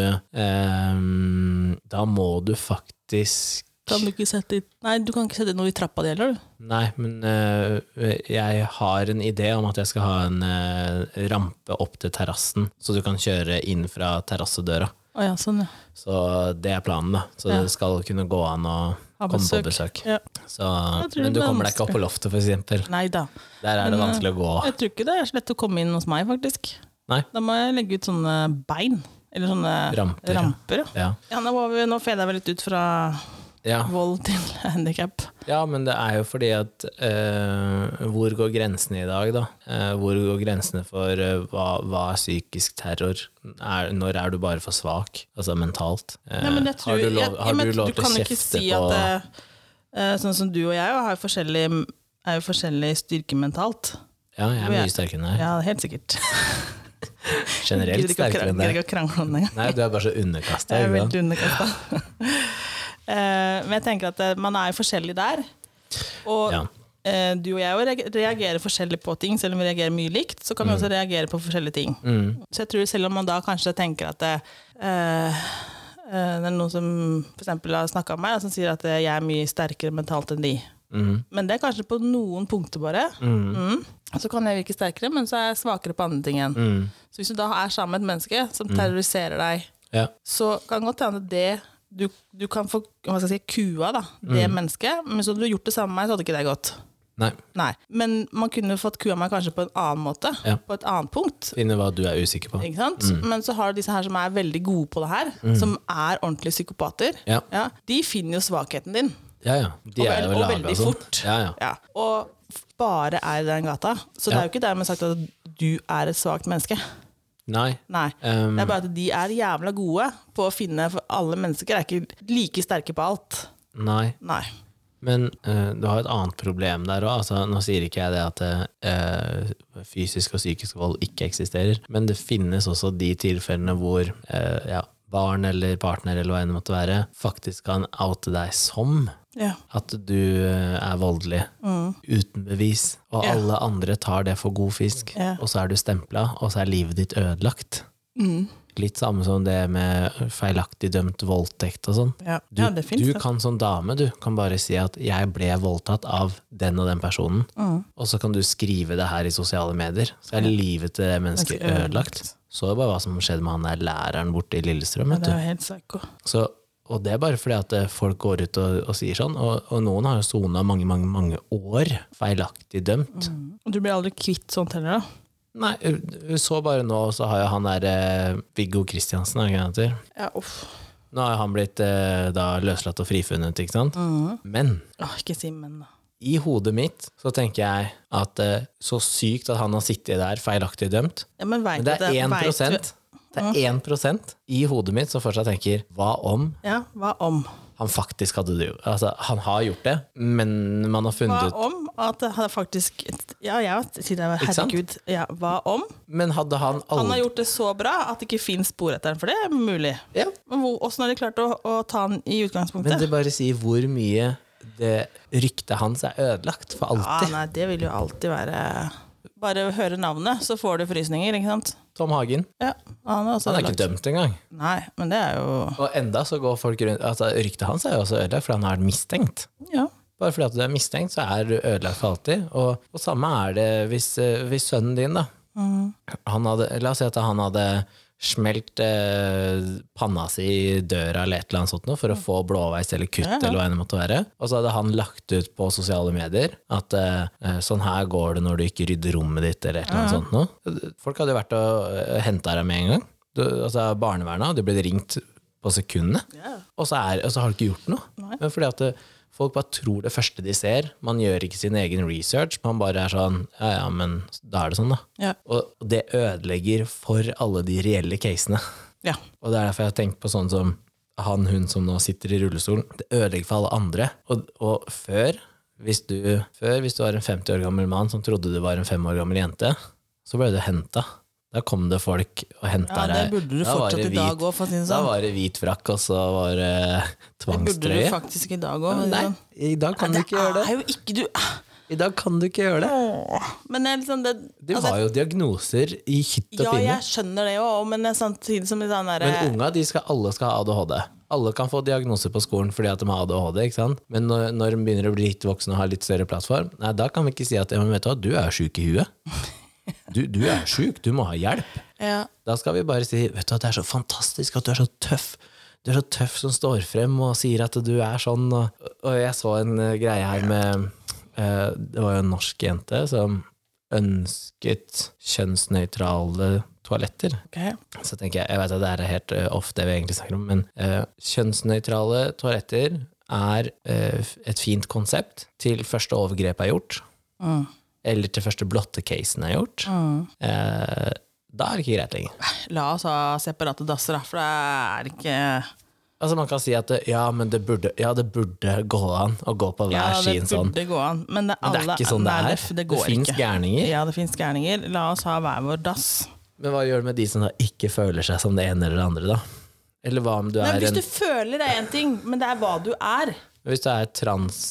[SPEAKER 1] ehm, da må du faktisk
[SPEAKER 2] Kan du ikke sette i Nei, du kan ikke sette i noe i trappa di heller, du.
[SPEAKER 1] Nei, men eh, jeg har en idé om at jeg skal ha en eh, rampe opp til terrassen, så du kan kjøre inn fra terrassedøra.
[SPEAKER 2] Å ja, sånn, ja.
[SPEAKER 1] Så det er planen, da. Så
[SPEAKER 2] Ja.
[SPEAKER 1] det skal kunne gå an å
[SPEAKER 2] Ha
[SPEAKER 1] komme på
[SPEAKER 2] besøk.
[SPEAKER 1] besøk.
[SPEAKER 2] ja.
[SPEAKER 1] Så,
[SPEAKER 2] tror det
[SPEAKER 1] men du
[SPEAKER 2] blir
[SPEAKER 1] kommer deg ikke opp på loftet, for eksempel.
[SPEAKER 2] Nei da.
[SPEAKER 1] Der er det
[SPEAKER 2] Men, eh,
[SPEAKER 1] vanskelig å gå.
[SPEAKER 2] Jeg tror ikke det er så lett å komme inn hos meg, faktisk.
[SPEAKER 1] Nei.
[SPEAKER 2] Da må jeg legge ut sånne bein. Eller sånne
[SPEAKER 1] Ramper, Ah. ja.
[SPEAKER 2] ramper ja.
[SPEAKER 1] Ja.
[SPEAKER 2] Ja, nå, var vi, nå feda vi litt ut fra
[SPEAKER 1] Ja.
[SPEAKER 2] vold til handikap.
[SPEAKER 1] Ja, men det er jo fordi at eh, Hvor går grensene i dag, da? Eh, hvor går grensene for eh, hva, hva er psykisk terror? Er, når er du bare for svak, altså mentalt? Eh, har du lov, har du lov til å kjefte på
[SPEAKER 2] Sånn som du og jeg har jo forskjellig, er jo forskjellig styrke mentalt.
[SPEAKER 1] Ja, jeg er
[SPEAKER 2] Ja.
[SPEAKER 1] mye sterkere enn deg.
[SPEAKER 2] Ja, helt sikkert.
[SPEAKER 1] Generelt
[SPEAKER 2] Gidder ikke å kra-
[SPEAKER 1] sterkere enn
[SPEAKER 2] gidder
[SPEAKER 1] deg.
[SPEAKER 2] ikke å krangle om det engang.
[SPEAKER 1] Nei, du er bare så underkasta.
[SPEAKER 2] Jeg er veldig underkasta. Men jeg tenker at eh, man er jo forskjellig der. Og
[SPEAKER 1] Ja.
[SPEAKER 2] eh, du og jeg jo reag- reagerer forskjellig på ting, selv om vi reagerer mye likt. Så kan vi også reagere på forskjellige ting.
[SPEAKER 1] Mm.
[SPEAKER 2] Så jeg tror selv om man da kanskje tenker at det, eh, eh, det er noen som for eksempel har snakka om meg, og som sier at eh, jeg er mye sterkere mentalt enn de. Men det er kanskje på noen punkter bare. Mm. Så kan jeg virke sterkere, men så er jeg svakere på andre ting igjen. Så hvis du da er sammen med et menneske som terroriserer deg,
[SPEAKER 1] Ja.
[SPEAKER 2] så kan det godt hende at det du, du kan få hva skal jeg si, kua, da, det mennesket. Men hvis du hadde gjort det samme med meg, så hadde ikke det gått.
[SPEAKER 1] Nei,
[SPEAKER 2] Nei. Men man kunne fått kua meg kanskje på en annen måte.
[SPEAKER 1] Ja. Mm.
[SPEAKER 2] På et annet punkt.
[SPEAKER 1] finne hva du er usikker på.
[SPEAKER 2] Ikke sant? Men så har du disse her som er veldig gode på det her, som er ordentlige psykopater.
[SPEAKER 1] Mm. Ja.
[SPEAKER 2] Ja, de finner jo svakheten din.
[SPEAKER 1] Ja, ja. De
[SPEAKER 2] Og
[SPEAKER 1] er
[SPEAKER 2] vel-
[SPEAKER 1] jo
[SPEAKER 2] og
[SPEAKER 1] laga
[SPEAKER 2] veldig
[SPEAKER 1] sånn.
[SPEAKER 2] fort.
[SPEAKER 1] Ja, ja.
[SPEAKER 2] Ja. Og f- bare er i den gata. Så det
[SPEAKER 1] Ja.
[SPEAKER 2] er jo ikke dermed sagt at du er et svakt menneske.
[SPEAKER 1] Nei.
[SPEAKER 2] Nei.
[SPEAKER 1] Um,
[SPEAKER 2] Det er bare at de er jævla gode på å finne For alle mennesker er ikke like sterke på alt.
[SPEAKER 1] nei.
[SPEAKER 2] Nei.
[SPEAKER 1] Men eh, du har et annet problem der òg. Altså, nå sier ikke jeg det at eh, fysisk og psykisk vold ikke eksisterer, men det finnes også de tilfellene hvor eh, ja, barn eller partner eller hva enn det måtte være, faktisk kan oute deg som
[SPEAKER 2] Ja.
[SPEAKER 1] at du eh, er voldelig, uten bevis, og
[SPEAKER 2] Mm. Ja.
[SPEAKER 1] alle andre tar det for god fisk,
[SPEAKER 2] Ja.
[SPEAKER 1] og så er du stempla, og så er livet ditt ødelagt.
[SPEAKER 2] Mm.
[SPEAKER 1] Litt samme som det med feilaktig dømt voldtekt og sånn.
[SPEAKER 2] Ja.
[SPEAKER 1] Du,
[SPEAKER 2] ja, det fins.
[SPEAKER 1] du
[SPEAKER 2] det.
[SPEAKER 1] kan som dame du kan bare si at 'jeg ble voldtatt av den og den personen',
[SPEAKER 2] Mm.
[SPEAKER 1] og så kan du skrive det her i sosiale medier. Så er livet til det mennesket
[SPEAKER 2] Ganske
[SPEAKER 1] ødelagt. Så er det bare hva som skjedde med han der læreren borte i Lillestrøm.
[SPEAKER 2] Ja,
[SPEAKER 1] Vet
[SPEAKER 2] det
[SPEAKER 1] du.
[SPEAKER 2] er jo helt psyko.
[SPEAKER 1] Så, og det er bare fordi at eh, folk går ut og, og sier sånn. Og, og noen har jo sona mange, mange, mange år feilaktig dømt.
[SPEAKER 2] Og du blir aldri kvitt sånt heller, da.
[SPEAKER 1] Nei, u- u- så bare nå, så har jo han der eh, Viggo Kristiansen, er det ikke han heter?
[SPEAKER 2] Ja, uff.
[SPEAKER 1] Nå har jo han blitt eh, da løslatt og frifunnet, ikke sant?
[SPEAKER 2] Mm.
[SPEAKER 1] Men
[SPEAKER 2] Åh, ikke si men, da.
[SPEAKER 1] I hodet mitt så tenker jeg at eh, så sykt at han har sittet der feilaktig dømt.
[SPEAKER 2] Ja, men vet
[SPEAKER 1] Men det
[SPEAKER 2] du
[SPEAKER 1] er 1
[SPEAKER 2] vet du-
[SPEAKER 1] Det er 1 i hodet mitt som fortsatt tenker hva om
[SPEAKER 2] Ja, hva om?
[SPEAKER 1] han faktisk hadde det? jo? Altså, han har gjort det, men man har
[SPEAKER 2] Hva
[SPEAKER 1] funnet ut
[SPEAKER 2] om at det hadde faktisk Ja, ja, sier jeg,
[SPEAKER 1] Ikke sant?
[SPEAKER 2] herregud. Ja, hva om?
[SPEAKER 1] Men hadde han
[SPEAKER 2] Han har
[SPEAKER 1] aldri
[SPEAKER 2] gjort det så bra at det ikke fins spor etter ham, for det er mulig.
[SPEAKER 1] ja,
[SPEAKER 2] Men hvor- åssen har de klart å, å ta han i
[SPEAKER 1] Men
[SPEAKER 2] utgangspunktet?
[SPEAKER 1] det bare sier hvor mye det ryktet hans er ødelagt for
[SPEAKER 2] Ja,
[SPEAKER 1] alltid.
[SPEAKER 2] nei, det vil jo alltid være Bare høre navnet, så får du frysninger, ikke sant?
[SPEAKER 1] Tom Hagen.
[SPEAKER 2] Ja, han er også
[SPEAKER 1] Han er ikke
[SPEAKER 2] ødelagt.
[SPEAKER 1] dømt engang.
[SPEAKER 2] Nei, men det er jo
[SPEAKER 1] Og enda så går folk rundt altså, Ryktet hans er jo også ødelagt, for han er mistenkt.
[SPEAKER 2] Ja.
[SPEAKER 1] Bare fordi at du er mistenkt, så er du ødelagt for alltid. Og, og samme er det hvis, eh, hvis sønnen din da, han hadde, la oss si at han hadde smelt eh, panna si i døra eller et eller annet sånt noe for å få blåveis eller kutt, eller hva enn det måtte være. Og så hadde han lagt ut på sosiale medier at eh, eh, sånn her går det når du ikke rydder rommet ditt, eller et eller annet sånt noe. Folk hadde jo vært og henta deg med en gang. Du, altså Barnevernet hadde blitt ringt på sekundene.
[SPEAKER 2] Ja.
[SPEAKER 1] Og så, er, og så har du ikke gjort noe. Men fordi at det, Folk bare tror det første de ser. Man gjør ikke sin egen research. Man bare er sånn Ja, ja, men da er det sånn, da.
[SPEAKER 2] Ja.
[SPEAKER 1] Og det ødelegger for alle de reelle casene.
[SPEAKER 2] ja.
[SPEAKER 1] Og det er derfor jeg har tenkt på sånn som han, hun som nå sitter i rullestolen. Det ødelegger for alle andre. Og, og før, hvis du, før, hvis du var en 50 år gammel mann som trodde du var en 5 år gammel jente, så ble du henta. Da kom det folk og henta
[SPEAKER 2] Ja, det burde du
[SPEAKER 1] Da var
[SPEAKER 2] fortsatt
[SPEAKER 1] det
[SPEAKER 2] i dag
[SPEAKER 1] hvit-
[SPEAKER 2] òg, for å si
[SPEAKER 1] Da
[SPEAKER 2] det sånn.
[SPEAKER 1] var det hvit frakk, og så var det
[SPEAKER 2] Det burde
[SPEAKER 1] tvangstrøye.
[SPEAKER 2] du faktisk i dag òg.
[SPEAKER 1] Nei, i dag kan du ikke gjøre det.
[SPEAKER 2] sånn. er jo ikke du
[SPEAKER 1] I dag kan du ikke gjøre det.
[SPEAKER 2] Åh, Men det er liksom det
[SPEAKER 1] Det
[SPEAKER 2] altså,
[SPEAKER 1] var jo diagnoser i hytt og
[SPEAKER 2] Ja,
[SPEAKER 1] pinne.
[SPEAKER 2] jeg skjønner det òg, men det er samtidig som litt sånn derre
[SPEAKER 1] Men unga, de skal, alle skal ha ADHD. Alle kan få diagnoser på skolen fordi at de har ADHD. ikke sant? Men når, når de begynner å bli litt voksne og har litt større plattform, nei, da kan vi ikke si at ja, men vet du, hva, du er sjuk i huet. Du, du er sjuk, du må ha hjelp.
[SPEAKER 2] eh, ja,
[SPEAKER 1] Da skal vi bare si vet du, hva, det er så fantastisk at du er så tøff. Du er så tøff som står frem og sier at du er sånn. Og, og jeg så en eh, greie her med eh, Det var jo en norsk jente som ønsket kjønnsnøytrale toaletter.
[SPEAKER 2] ok.
[SPEAKER 1] Så tenker jeg, jeg vet at det er helt eh, off det vi egentlig snakker om, men eh, kjønnsnøytrale toaletter er eh, f- et fint konsept til første overgrep er gjort,
[SPEAKER 2] Mm.
[SPEAKER 1] eller til første blotte-casen er gjort. Eh, da er det ikke greit lenger.
[SPEAKER 2] La oss ha separate dasser, da, for det er ikke
[SPEAKER 1] Altså Man kan si at det, ja, men det burde, ja, det burde gå an å gå på
[SPEAKER 2] Ja,
[SPEAKER 1] hver
[SPEAKER 2] det
[SPEAKER 1] sin sånn.
[SPEAKER 2] burde gå an, men det,
[SPEAKER 1] Men det
[SPEAKER 2] alle,
[SPEAKER 1] er ikke sånn det
[SPEAKER 2] nei,
[SPEAKER 1] er.
[SPEAKER 2] Det, det går
[SPEAKER 1] finnes
[SPEAKER 2] ikke.
[SPEAKER 1] gærninger.
[SPEAKER 2] Ja, det fins gærninger. La oss ha hver vår dass.
[SPEAKER 1] Men hva gjør du med de som da ikke føler seg som det ene eller det andre, da? Eller hva om du
[SPEAKER 2] Nei,
[SPEAKER 1] er
[SPEAKER 2] hvis
[SPEAKER 1] en
[SPEAKER 2] du føler det er én ting, men det er hva du er.
[SPEAKER 1] Hvis du er trans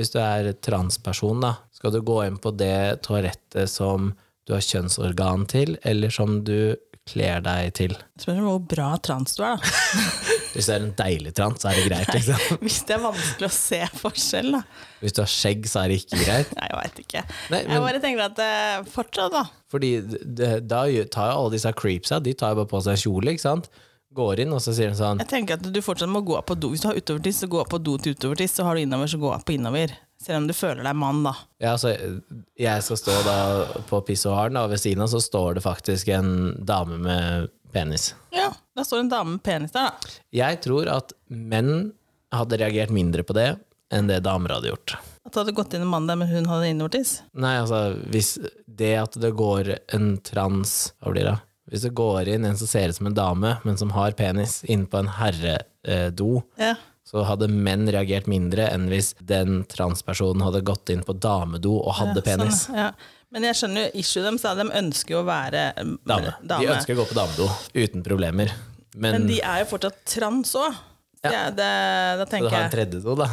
[SPEAKER 1] Hvis du er transperson da Skal du gå inn på det toalettet som du har kjønnsorgan til Eller som du kler deg til
[SPEAKER 2] Spørs om hvor bra trans du er, da.
[SPEAKER 1] Hvis du er en deilig trans, så er det greit liksom.
[SPEAKER 2] Hvis det er vanskelig å se forskjell, da.
[SPEAKER 1] Hvis du har skjegg, så er det ikke greit
[SPEAKER 2] Nei, jeg veit ikke.
[SPEAKER 1] Nei, men-
[SPEAKER 2] Jeg bare tenker at eh, fortsatt, da.
[SPEAKER 1] Fordi det, da gjør- tar jo alle disse creepsa De tar jo bare på seg kjole, ikke sant? Går inn, og så sier de sånn
[SPEAKER 2] Jeg tenker at du fortsatt må gå av på do. Hvis du har utovertiss, så gå av på do til utovertiss. Så har du innover, så gå av på innover. Selv om du føler deg mann, da.
[SPEAKER 1] Ja, altså, jeg skal stå da på pissoaren Og ved siden av så står det faktisk en dame med penis
[SPEAKER 2] Ja, Da står en dame med penis der, da.
[SPEAKER 1] Jeg tror at menn hadde reagert mindre på det enn det damer hadde gjort.
[SPEAKER 2] At det hadde gått inn en mann der, men hun hadde innovertiss.
[SPEAKER 1] Nei, altså, hvis det at det går en trans Hva blir det? Hvis det går inn en som ser ut som en dame, men som har penis, inn på en eh, herredo,
[SPEAKER 2] Ja.
[SPEAKER 1] så hadde menn reagert mindre enn hvis den transpersonen hadde gått inn på damedo og hadde penis.
[SPEAKER 2] Sånn, ja. Men jeg skjønner jo issue dem, så de ønsker jo å være eh,
[SPEAKER 1] Dame.
[SPEAKER 2] dame.
[SPEAKER 1] De ønsker å gå på damedo uten problemer. Men,
[SPEAKER 2] Men de er jo fortsatt trans òg. Ja. det, da
[SPEAKER 1] du
[SPEAKER 2] tenker
[SPEAKER 1] har en
[SPEAKER 2] jeg,
[SPEAKER 1] tredje do, da.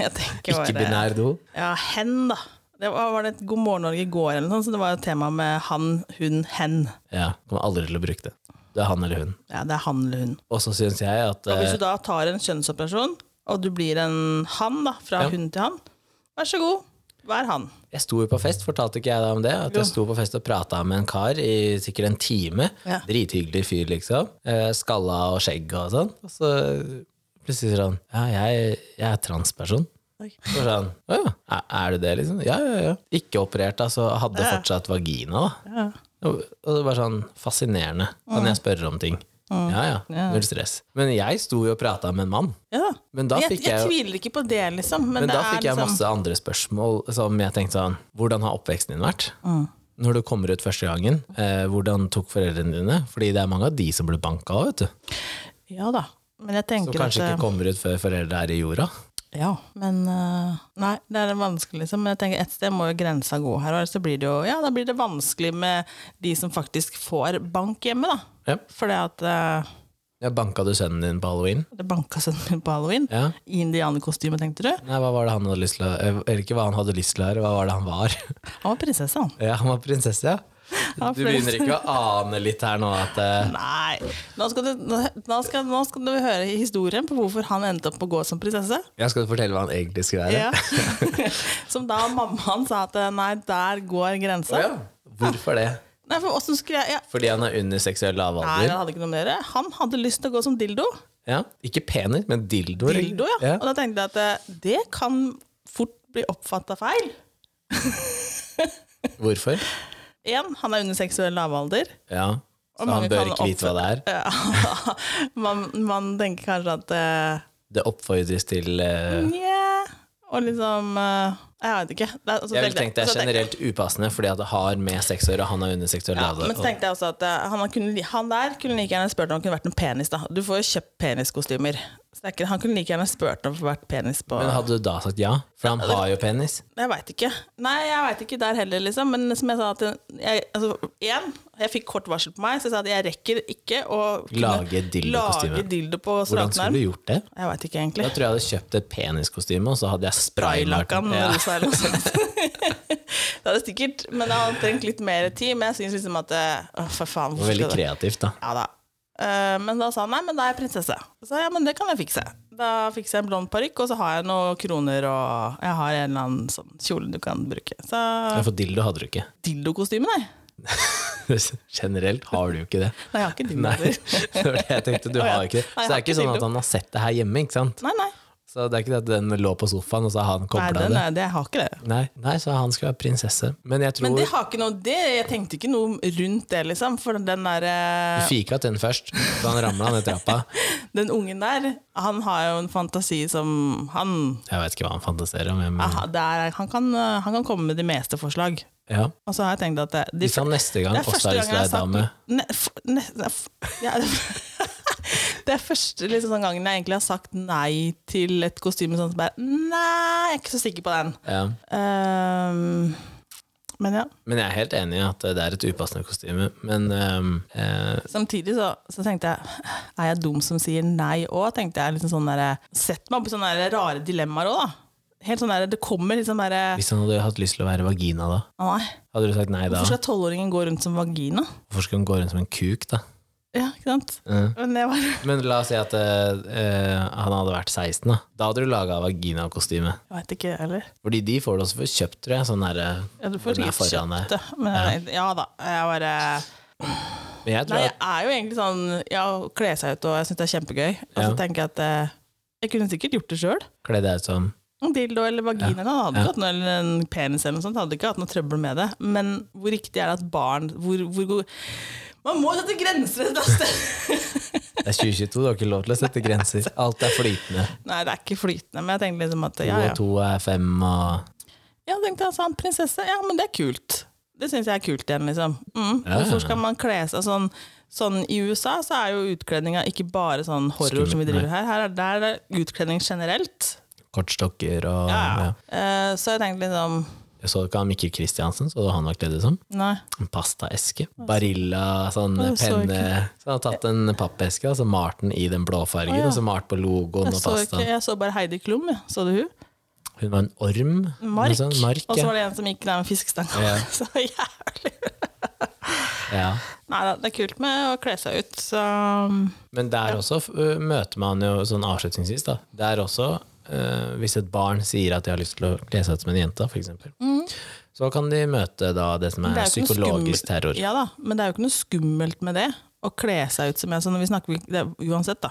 [SPEAKER 2] jeg tenker bare-
[SPEAKER 1] Ikke-binær do.
[SPEAKER 2] Ja, hen, da. Det var, var det et God morgen Norge i går, eller noe sånt, så det var jo tema med han, hun, hen.
[SPEAKER 1] Ja, kommer aldri til å bruke det. Det er han eller hun.
[SPEAKER 2] Ja, det er han eller hun.
[SPEAKER 1] Og så syns jeg at
[SPEAKER 2] Og
[SPEAKER 1] eh,
[SPEAKER 2] hvis du da tar en kjønnsoperasjon, og du blir en han, da, fra
[SPEAKER 1] Ja.
[SPEAKER 2] hun til han, vær så god, vær han.
[SPEAKER 1] eh, Jeg sto jo på fest, fortalte ikke jeg deg om det? At jeg sto på fest og prata med en kar i sikkert en time.
[SPEAKER 2] Ja.
[SPEAKER 1] Drithyggelig fyr, liksom. Eh, skalla og skjegg og sånn. Og så plutselig sier han ja, jeg, jeg er transperson.
[SPEAKER 2] Oi.
[SPEAKER 1] Så var det sånn, «Å ja, er- er du det, liksom? Ja, ja, ja. Ikke operert, altså. Hadde fortsatt vagina, da.
[SPEAKER 2] Ja. Mm.
[SPEAKER 1] Og og det var sånn fascinerende. Kan jeg spørre om ting? Ja, ja. Null stress. Men jeg sto jo og prata med en mann.
[SPEAKER 2] Ja.
[SPEAKER 1] Men da
[SPEAKER 2] jeg,
[SPEAKER 1] fikk jeg
[SPEAKER 2] jeg
[SPEAKER 1] jo
[SPEAKER 2] tviler ikke på det, liksom. Men,
[SPEAKER 1] men
[SPEAKER 2] det
[SPEAKER 1] da
[SPEAKER 2] er
[SPEAKER 1] fikk jeg
[SPEAKER 2] liksom
[SPEAKER 1] masse andre spørsmål som jeg tenkte sånn Hvordan har oppveksten din vært?
[SPEAKER 2] Mm.
[SPEAKER 1] Når du kommer ut første gangen, eh, hvordan tok foreldrene dine? Fordi det er mange av de som ble banka av, vet du.
[SPEAKER 2] Ja da. Men jeg
[SPEAKER 1] Som
[SPEAKER 2] tenker at
[SPEAKER 1] kanskje ikke kommer ut før foreldre er i jorda.
[SPEAKER 2] Ja, men eh, Nei, det er vanskelig, liksom. Men jeg tenker et sted må jo grensa gå her, og ellers så blir det jo Ja, da blir det vanskelig med de som faktisk får bank hjemme, da.
[SPEAKER 1] Ja.
[SPEAKER 2] Fordi at eh,
[SPEAKER 1] Ja, banka du sønnen din på halloween?
[SPEAKER 2] Det banka sønnen min på halloween.
[SPEAKER 1] Ja.
[SPEAKER 2] I indianerkostyme, tenkte du?
[SPEAKER 1] Nei, hva var det han hadde lyst til å eh, Eller ikke hva han hadde lyst til å være, hva var det han var?
[SPEAKER 2] Han var prinsesse, han.
[SPEAKER 1] ja, han var prinsesse, ja.
[SPEAKER 2] Ja,
[SPEAKER 1] Du begynner ikke å ane litt her nå at eh,
[SPEAKER 2] Nei. Nå skal, du, nå, nå skal, nå skal du høre historien på hvorfor han endte opp på å gå som prinsesse.
[SPEAKER 1] Jeg skal fortelle hva han egentlig skulle være.
[SPEAKER 2] Som da mammaen sa at eh, nei, der går
[SPEAKER 1] Å
[SPEAKER 2] grensa.
[SPEAKER 1] ja. Hvorfor det?
[SPEAKER 2] Nei, for hvordan skulle jeg, jeg
[SPEAKER 1] Fordi han er under seksuell
[SPEAKER 2] Nei,
[SPEAKER 1] lavalder.
[SPEAKER 2] han hadde ikke noe med det. Han hadde lyst til å gå som dildo.
[SPEAKER 1] Ja. Ikke penis, men dildoer. ikke?
[SPEAKER 2] Dildo, ja.
[SPEAKER 1] Ja.
[SPEAKER 2] Og da tenkte jeg at eh, det kan fort bli oppfatta feil.
[SPEAKER 1] Hvorfor?
[SPEAKER 2] Én, han er under seksuell lavalder.
[SPEAKER 1] Ja. Så
[SPEAKER 2] Og
[SPEAKER 1] han
[SPEAKER 2] mange
[SPEAKER 1] bør
[SPEAKER 2] kan
[SPEAKER 1] ikke vite hva det er.
[SPEAKER 2] Ja. Eh, man, man tenker kanskje at eh,
[SPEAKER 1] Det oppfordres til
[SPEAKER 2] Mm,
[SPEAKER 1] eh,
[SPEAKER 2] Nja Og liksom eh, Jeg vet ikke. Det er- altså,
[SPEAKER 1] Jeg vil
[SPEAKER 2] veldig-
[SPEAKER 1] tenke det
[SPEAKER 2] så
[SPEAKER 1] er
[SPEAKER 2] tenker-
[SPEAKER 1] generelt upassende, fordi at det har med sex å gjøre, og han er under seksuell
[SPEAKER 2] Ja,
[SPEAKER 1] lavalder.
[SPEAKER 2] men så
[SPEAKER 1] Altså, og-
[SPEAKER 2] tenkte jeg også at eh, han, kunne, han der kunne like gjerne spurt om han kunne vært en penis. da Du får jo kjøpt peniskostymer. Så det er ikke, han kunne like gjerne spurt om å få vært penis på
[SPEAKER 1] Men hadde du da sagt ja? For han har jo penis.
[SPEAKER 2] Jeg veit ikke. Nei, jeg veit ikke der heller, liksom. Men som jeg sa, at jeg, altså, igjen, jeg fikk kort varsel på meg, så jeg sa at jeg rekker ikke å kunne
[SPEAKER 1] Lage dildokostyme.
[SPEAKER 2] lage dildo på
[SPEAKER 1] Hvordan
[SPEAKER 2] strake
[SPEAKER 1] skulle
[SPEAKER 2] arm.
[SPEAKER 1] du gjort det?
[SPEAKER 2] Jeg veit ikke,
[SPEAKER 1] Da
[SPEAKER 2] egentlig.
[SPEAKER 1] tror jeg jeg hadde kjøpt et peniskostyme, og så hadde jeg spraylakka
[SPEAKER 2] Spraylakan
[SPEAKER 1] ja.
[SPEAKER 2] rosa eller noe sånt. det hadde sikkert Men jeg hadde trengt litt mer tid. Men jeg syns liksom at eh, Å, for faen,
[SPEAKER 1] Det var
[SPEAKER 2] hvorfor
[SPEAKER 1] Veldig
[SPEAKER 2] skal det
[SPEAKER 1] kreativt, da.
[SPEAKER 2] Ja da. Eh, men da sa han nei, men da er jeg prinsesse. Så sa jeg, ja, men det kan jeg fikse. Da fikser jeg en blond parykk, og så har jeg noen kroner og jeg har en eller annen sånn kjole du kan bruke. Så
[SPEAKER 1] Ja, For dildo hadde du ikke.
[SPEAKER 2] dildokostyme, nei.
[SPEAKER 1] Generelt har du jo ikke det.
[SPEAKER 2] Nei, jeg har ikke
[SPEAKER 1] Nei,
[SPEAKER 2] dildoer.
[SPEAKER 1] det var det jeg tenkte. Du
[SPEAKER 2] Å, ja.
[SPEAKER 1] har jo ikke det. Så
[SPEAKER 2] Nei, jeg
[SPEAKER 1] det
[SPEAKER 2] har
[SPEAKER 1] er ikke
[SPEAKER 2] ikke
[SPEAKER 1] sånn
[SPEAKER 2] dildo.
[SPEAKER 1] at han har sett det her hjemme, ikke sant.
[SPEAKER 2] Nei, nei.
[SPEAKER 1] Så det er ikke det at den lå på sofaen, og så har han
[SPEAKER 2] nei
[SPEAKER 1] kobla
[SPEAKER 2] den
[SPEAKER 1] det.
[SPEAKER 2] er, det, jeg har ikke det.
[SPEAKER 1] Nei, nei, så han skal være prinsesse. Men jeg tror
[SPEAKER 2] Men det har ikke noe det, Jeg tenkte ikke noe rundt det, liksom. For den der
[SPEAKER 1] du
[SPEAKER 2] eh,
[SPEAKER 1] fika til den først, så han ramla ned trappa.
[SPEAKER 2] Den ungen der, han har jo en fantasi som Han,
[SPEAKER 1] Jeg veit ikke hva han fantaserer om, men
[SPEAKER 2] aha, det er, han, kan, eh, han kan komme med de meste forslag.
[SPEAKER 1] ja.
[SPEAKER 2] Og så har jeg tenkt at det, de
[SPEAKER 1] Hvis han neste gang
[SPEAKER 2] Det er
[SPEAKER 1] også
[SPEAKER 2] første
[SPEAKER 1] har
[SPEAKER 2] gang
[SPEAKER 1] lyst
[SPEAKER 2] jeg
[SPEAKER 1] til å
[SPEAKER 2] har
[SPEAKER 1] være
[SPEAKER 2] sagt
[SPEAKER 1] dame
[SPEAKER 2] ne, f, ne, ne, f, ja, Det er første liksom, sånn gangen jeg egentlig har sagt nei til et kostyme sånn som bare Nei, jeg er ikke så sikker på den.
[SPEAKER 1] ja.
[SPEAKER 2] Ehm, men ja.
[SPEAKER 1] Men jeg er helt enig i at det er et upassende kostyme. Men ehm, eh,
[SPEAKER 2] Samtidig så, så tenkte jeg Er jeg dum som sier nei òg? Tenkte jeg liksom sånn der, Sett meg opp i sånne der rare dilemmaer òg, da. Helt sånn der, Det kommer liksom bare Å
[SPEAKER 1] hvis han hadde hatt lyst til å være vagina da,
[SPEAKER 2] nei.
[SPEAKER 1] hadde du sagt nei da?
[SPEAKER 2] Hvorfor skal tolvåringen gå rundt som vagina?
[SPEAKER 1] Hvorfor skal hun gå rundt som en kuk, da?
[SPEAKER 2] Ja, ikke sant?
[SPEAKER 1] Ja.
[SPEAKER 2] Men det var
[SPEAKER 1] Men la oss si at eh, eh, han hadde vært 16, da. Da hadde du laga vaginakostyme.
[SPEAKER 2] Jeg veit ikke, jeg heller.
[SPEAKER 1] Fordi de får du også for kjøpt, tror jeg. Sånn der, eh,
[SPEAKER 2] Ja, du får
[SPEAKER 1] den er
[SPEAKER 2] litt
[SPEAKER 1] foran
[SPEAKER 2] kjøpt
[SPEAKER 1] der.
[SPEAKER 2] det. Men jeg, ja da, jeg bare
[SPEAKER 1] Men jeg
[SPEAKER 2] Nei,
[SPEAKER 1] tror
[SPEAKER 2] jeg er jo egentlig sånn Ja, å kle seg ut, og jeg syns det er kjempegøy. Og så
[SPEAKER 1] Ja.
[SPEAKER 2] tenker jeg at eh, jeg kunne sikkert gjort det sjøl.
[SPEAKER 1] at kle deg ut som
[SPEAKER 2] En dildo eller vagina eller, noe, hadde
[SPEAKER 1] Ja.
[SPEAKER 2] ikke hatt noe, eller en penis eller noe sånt. Hadde ikke hatt noe trøbbel med det. Men hvor riktig er det at barn hvor, hvor god Man må jo sette grenser et eller annet sted!
[SPEAKER 1] Det er 2022, du har ikke lov til å sette grenser. Alt er flytende.
[SPEAKER 2] Nei, det er ikke flytende, men jeg tenkte liksom at
[SPEAKER 1] To
[SPEAKER 2] ja, ja.
[SPEAKER 1] og to er fem, og
[SPEAKER 2] Ja, tenkte jeg sånn, prinsesse, ja, men det er kult. Det syns jeg er kult igjen, liksom. Mm.
[SPEAKER 1] Ja.
[SPEAKER 2] Hvorfor skal man kle seg sånn? Sånn I USA så er jo utkledninga ikke bare sånn horror som vi
[SPEAKER 1] Skummelt,
[SPEAKER 2] driver her. her er, der er det utkledning generelt.
[SPEAKER 1] kortstokker og
[SPEAKER 2] Ja.
[SPEAKER 1] ja.
[SPEAKER 2] Eh, så jeg tenkte liksom
[SPEAKER 1] Jeg så ikke han Mikkel Kristiansen, så du han var kledd ut som?
[SPEAKER 2] Nei.
[SPEAKER 1] En pastaeske. Barilla, sånn
[SPEAKER 2] Å, jeg så
[SPEAKER 1] penne Så han har tatt en pappeske, og så malt den i den blåfargen,
[SPEAKER 2] Å, ja.
[SPEAKER 1] og så malt på logoen
[SPEAKER 2] Jeg
[SPEAKER 1] og
[SPEAKER 2] så, ikke,
[SPEAKER 1] pastaen.
[SPEAKER 2] jeg så bare Heidi Klum, jeg. Så du hun?
[SPEAKER 1] Hun var en orm.
[SPEAKER 2] Mark.
[SPEAKER 1] Noe sånt. sånn, Mark
[SPEAKER 2] Og så
[SPEAKER 1] ja.
[SPEAKER 2] var det en som gikk der med fiskestanga.
[SPEAKER 1] Ja.
[SPEAKER 2] så jævlig.
[SPEAKER 1] ja.
[SPEAKER 2] Nei da, det er kult med å kle seg ut, så um,
[SPEAKER 1] Men der også ø, møter man jo sånn avslutningsvis, da. Der også, ø, hvis et barn sier at de har lyst til å kle seg ut som en jente, for eksempel, så kan de møte da det som er,
[SPEAKER 2] Mhm. Det er jo ikke noe
[SPEAKER 1] psykologisk
[SPEAKER 2] skummelt.
[SPEAKER 1] terror.
[SPEAKER 2] Ja da, men det er jo ikke noe skummelt med det. Å kle seg ut som en sånn. Vi snakker det er, uansett, da.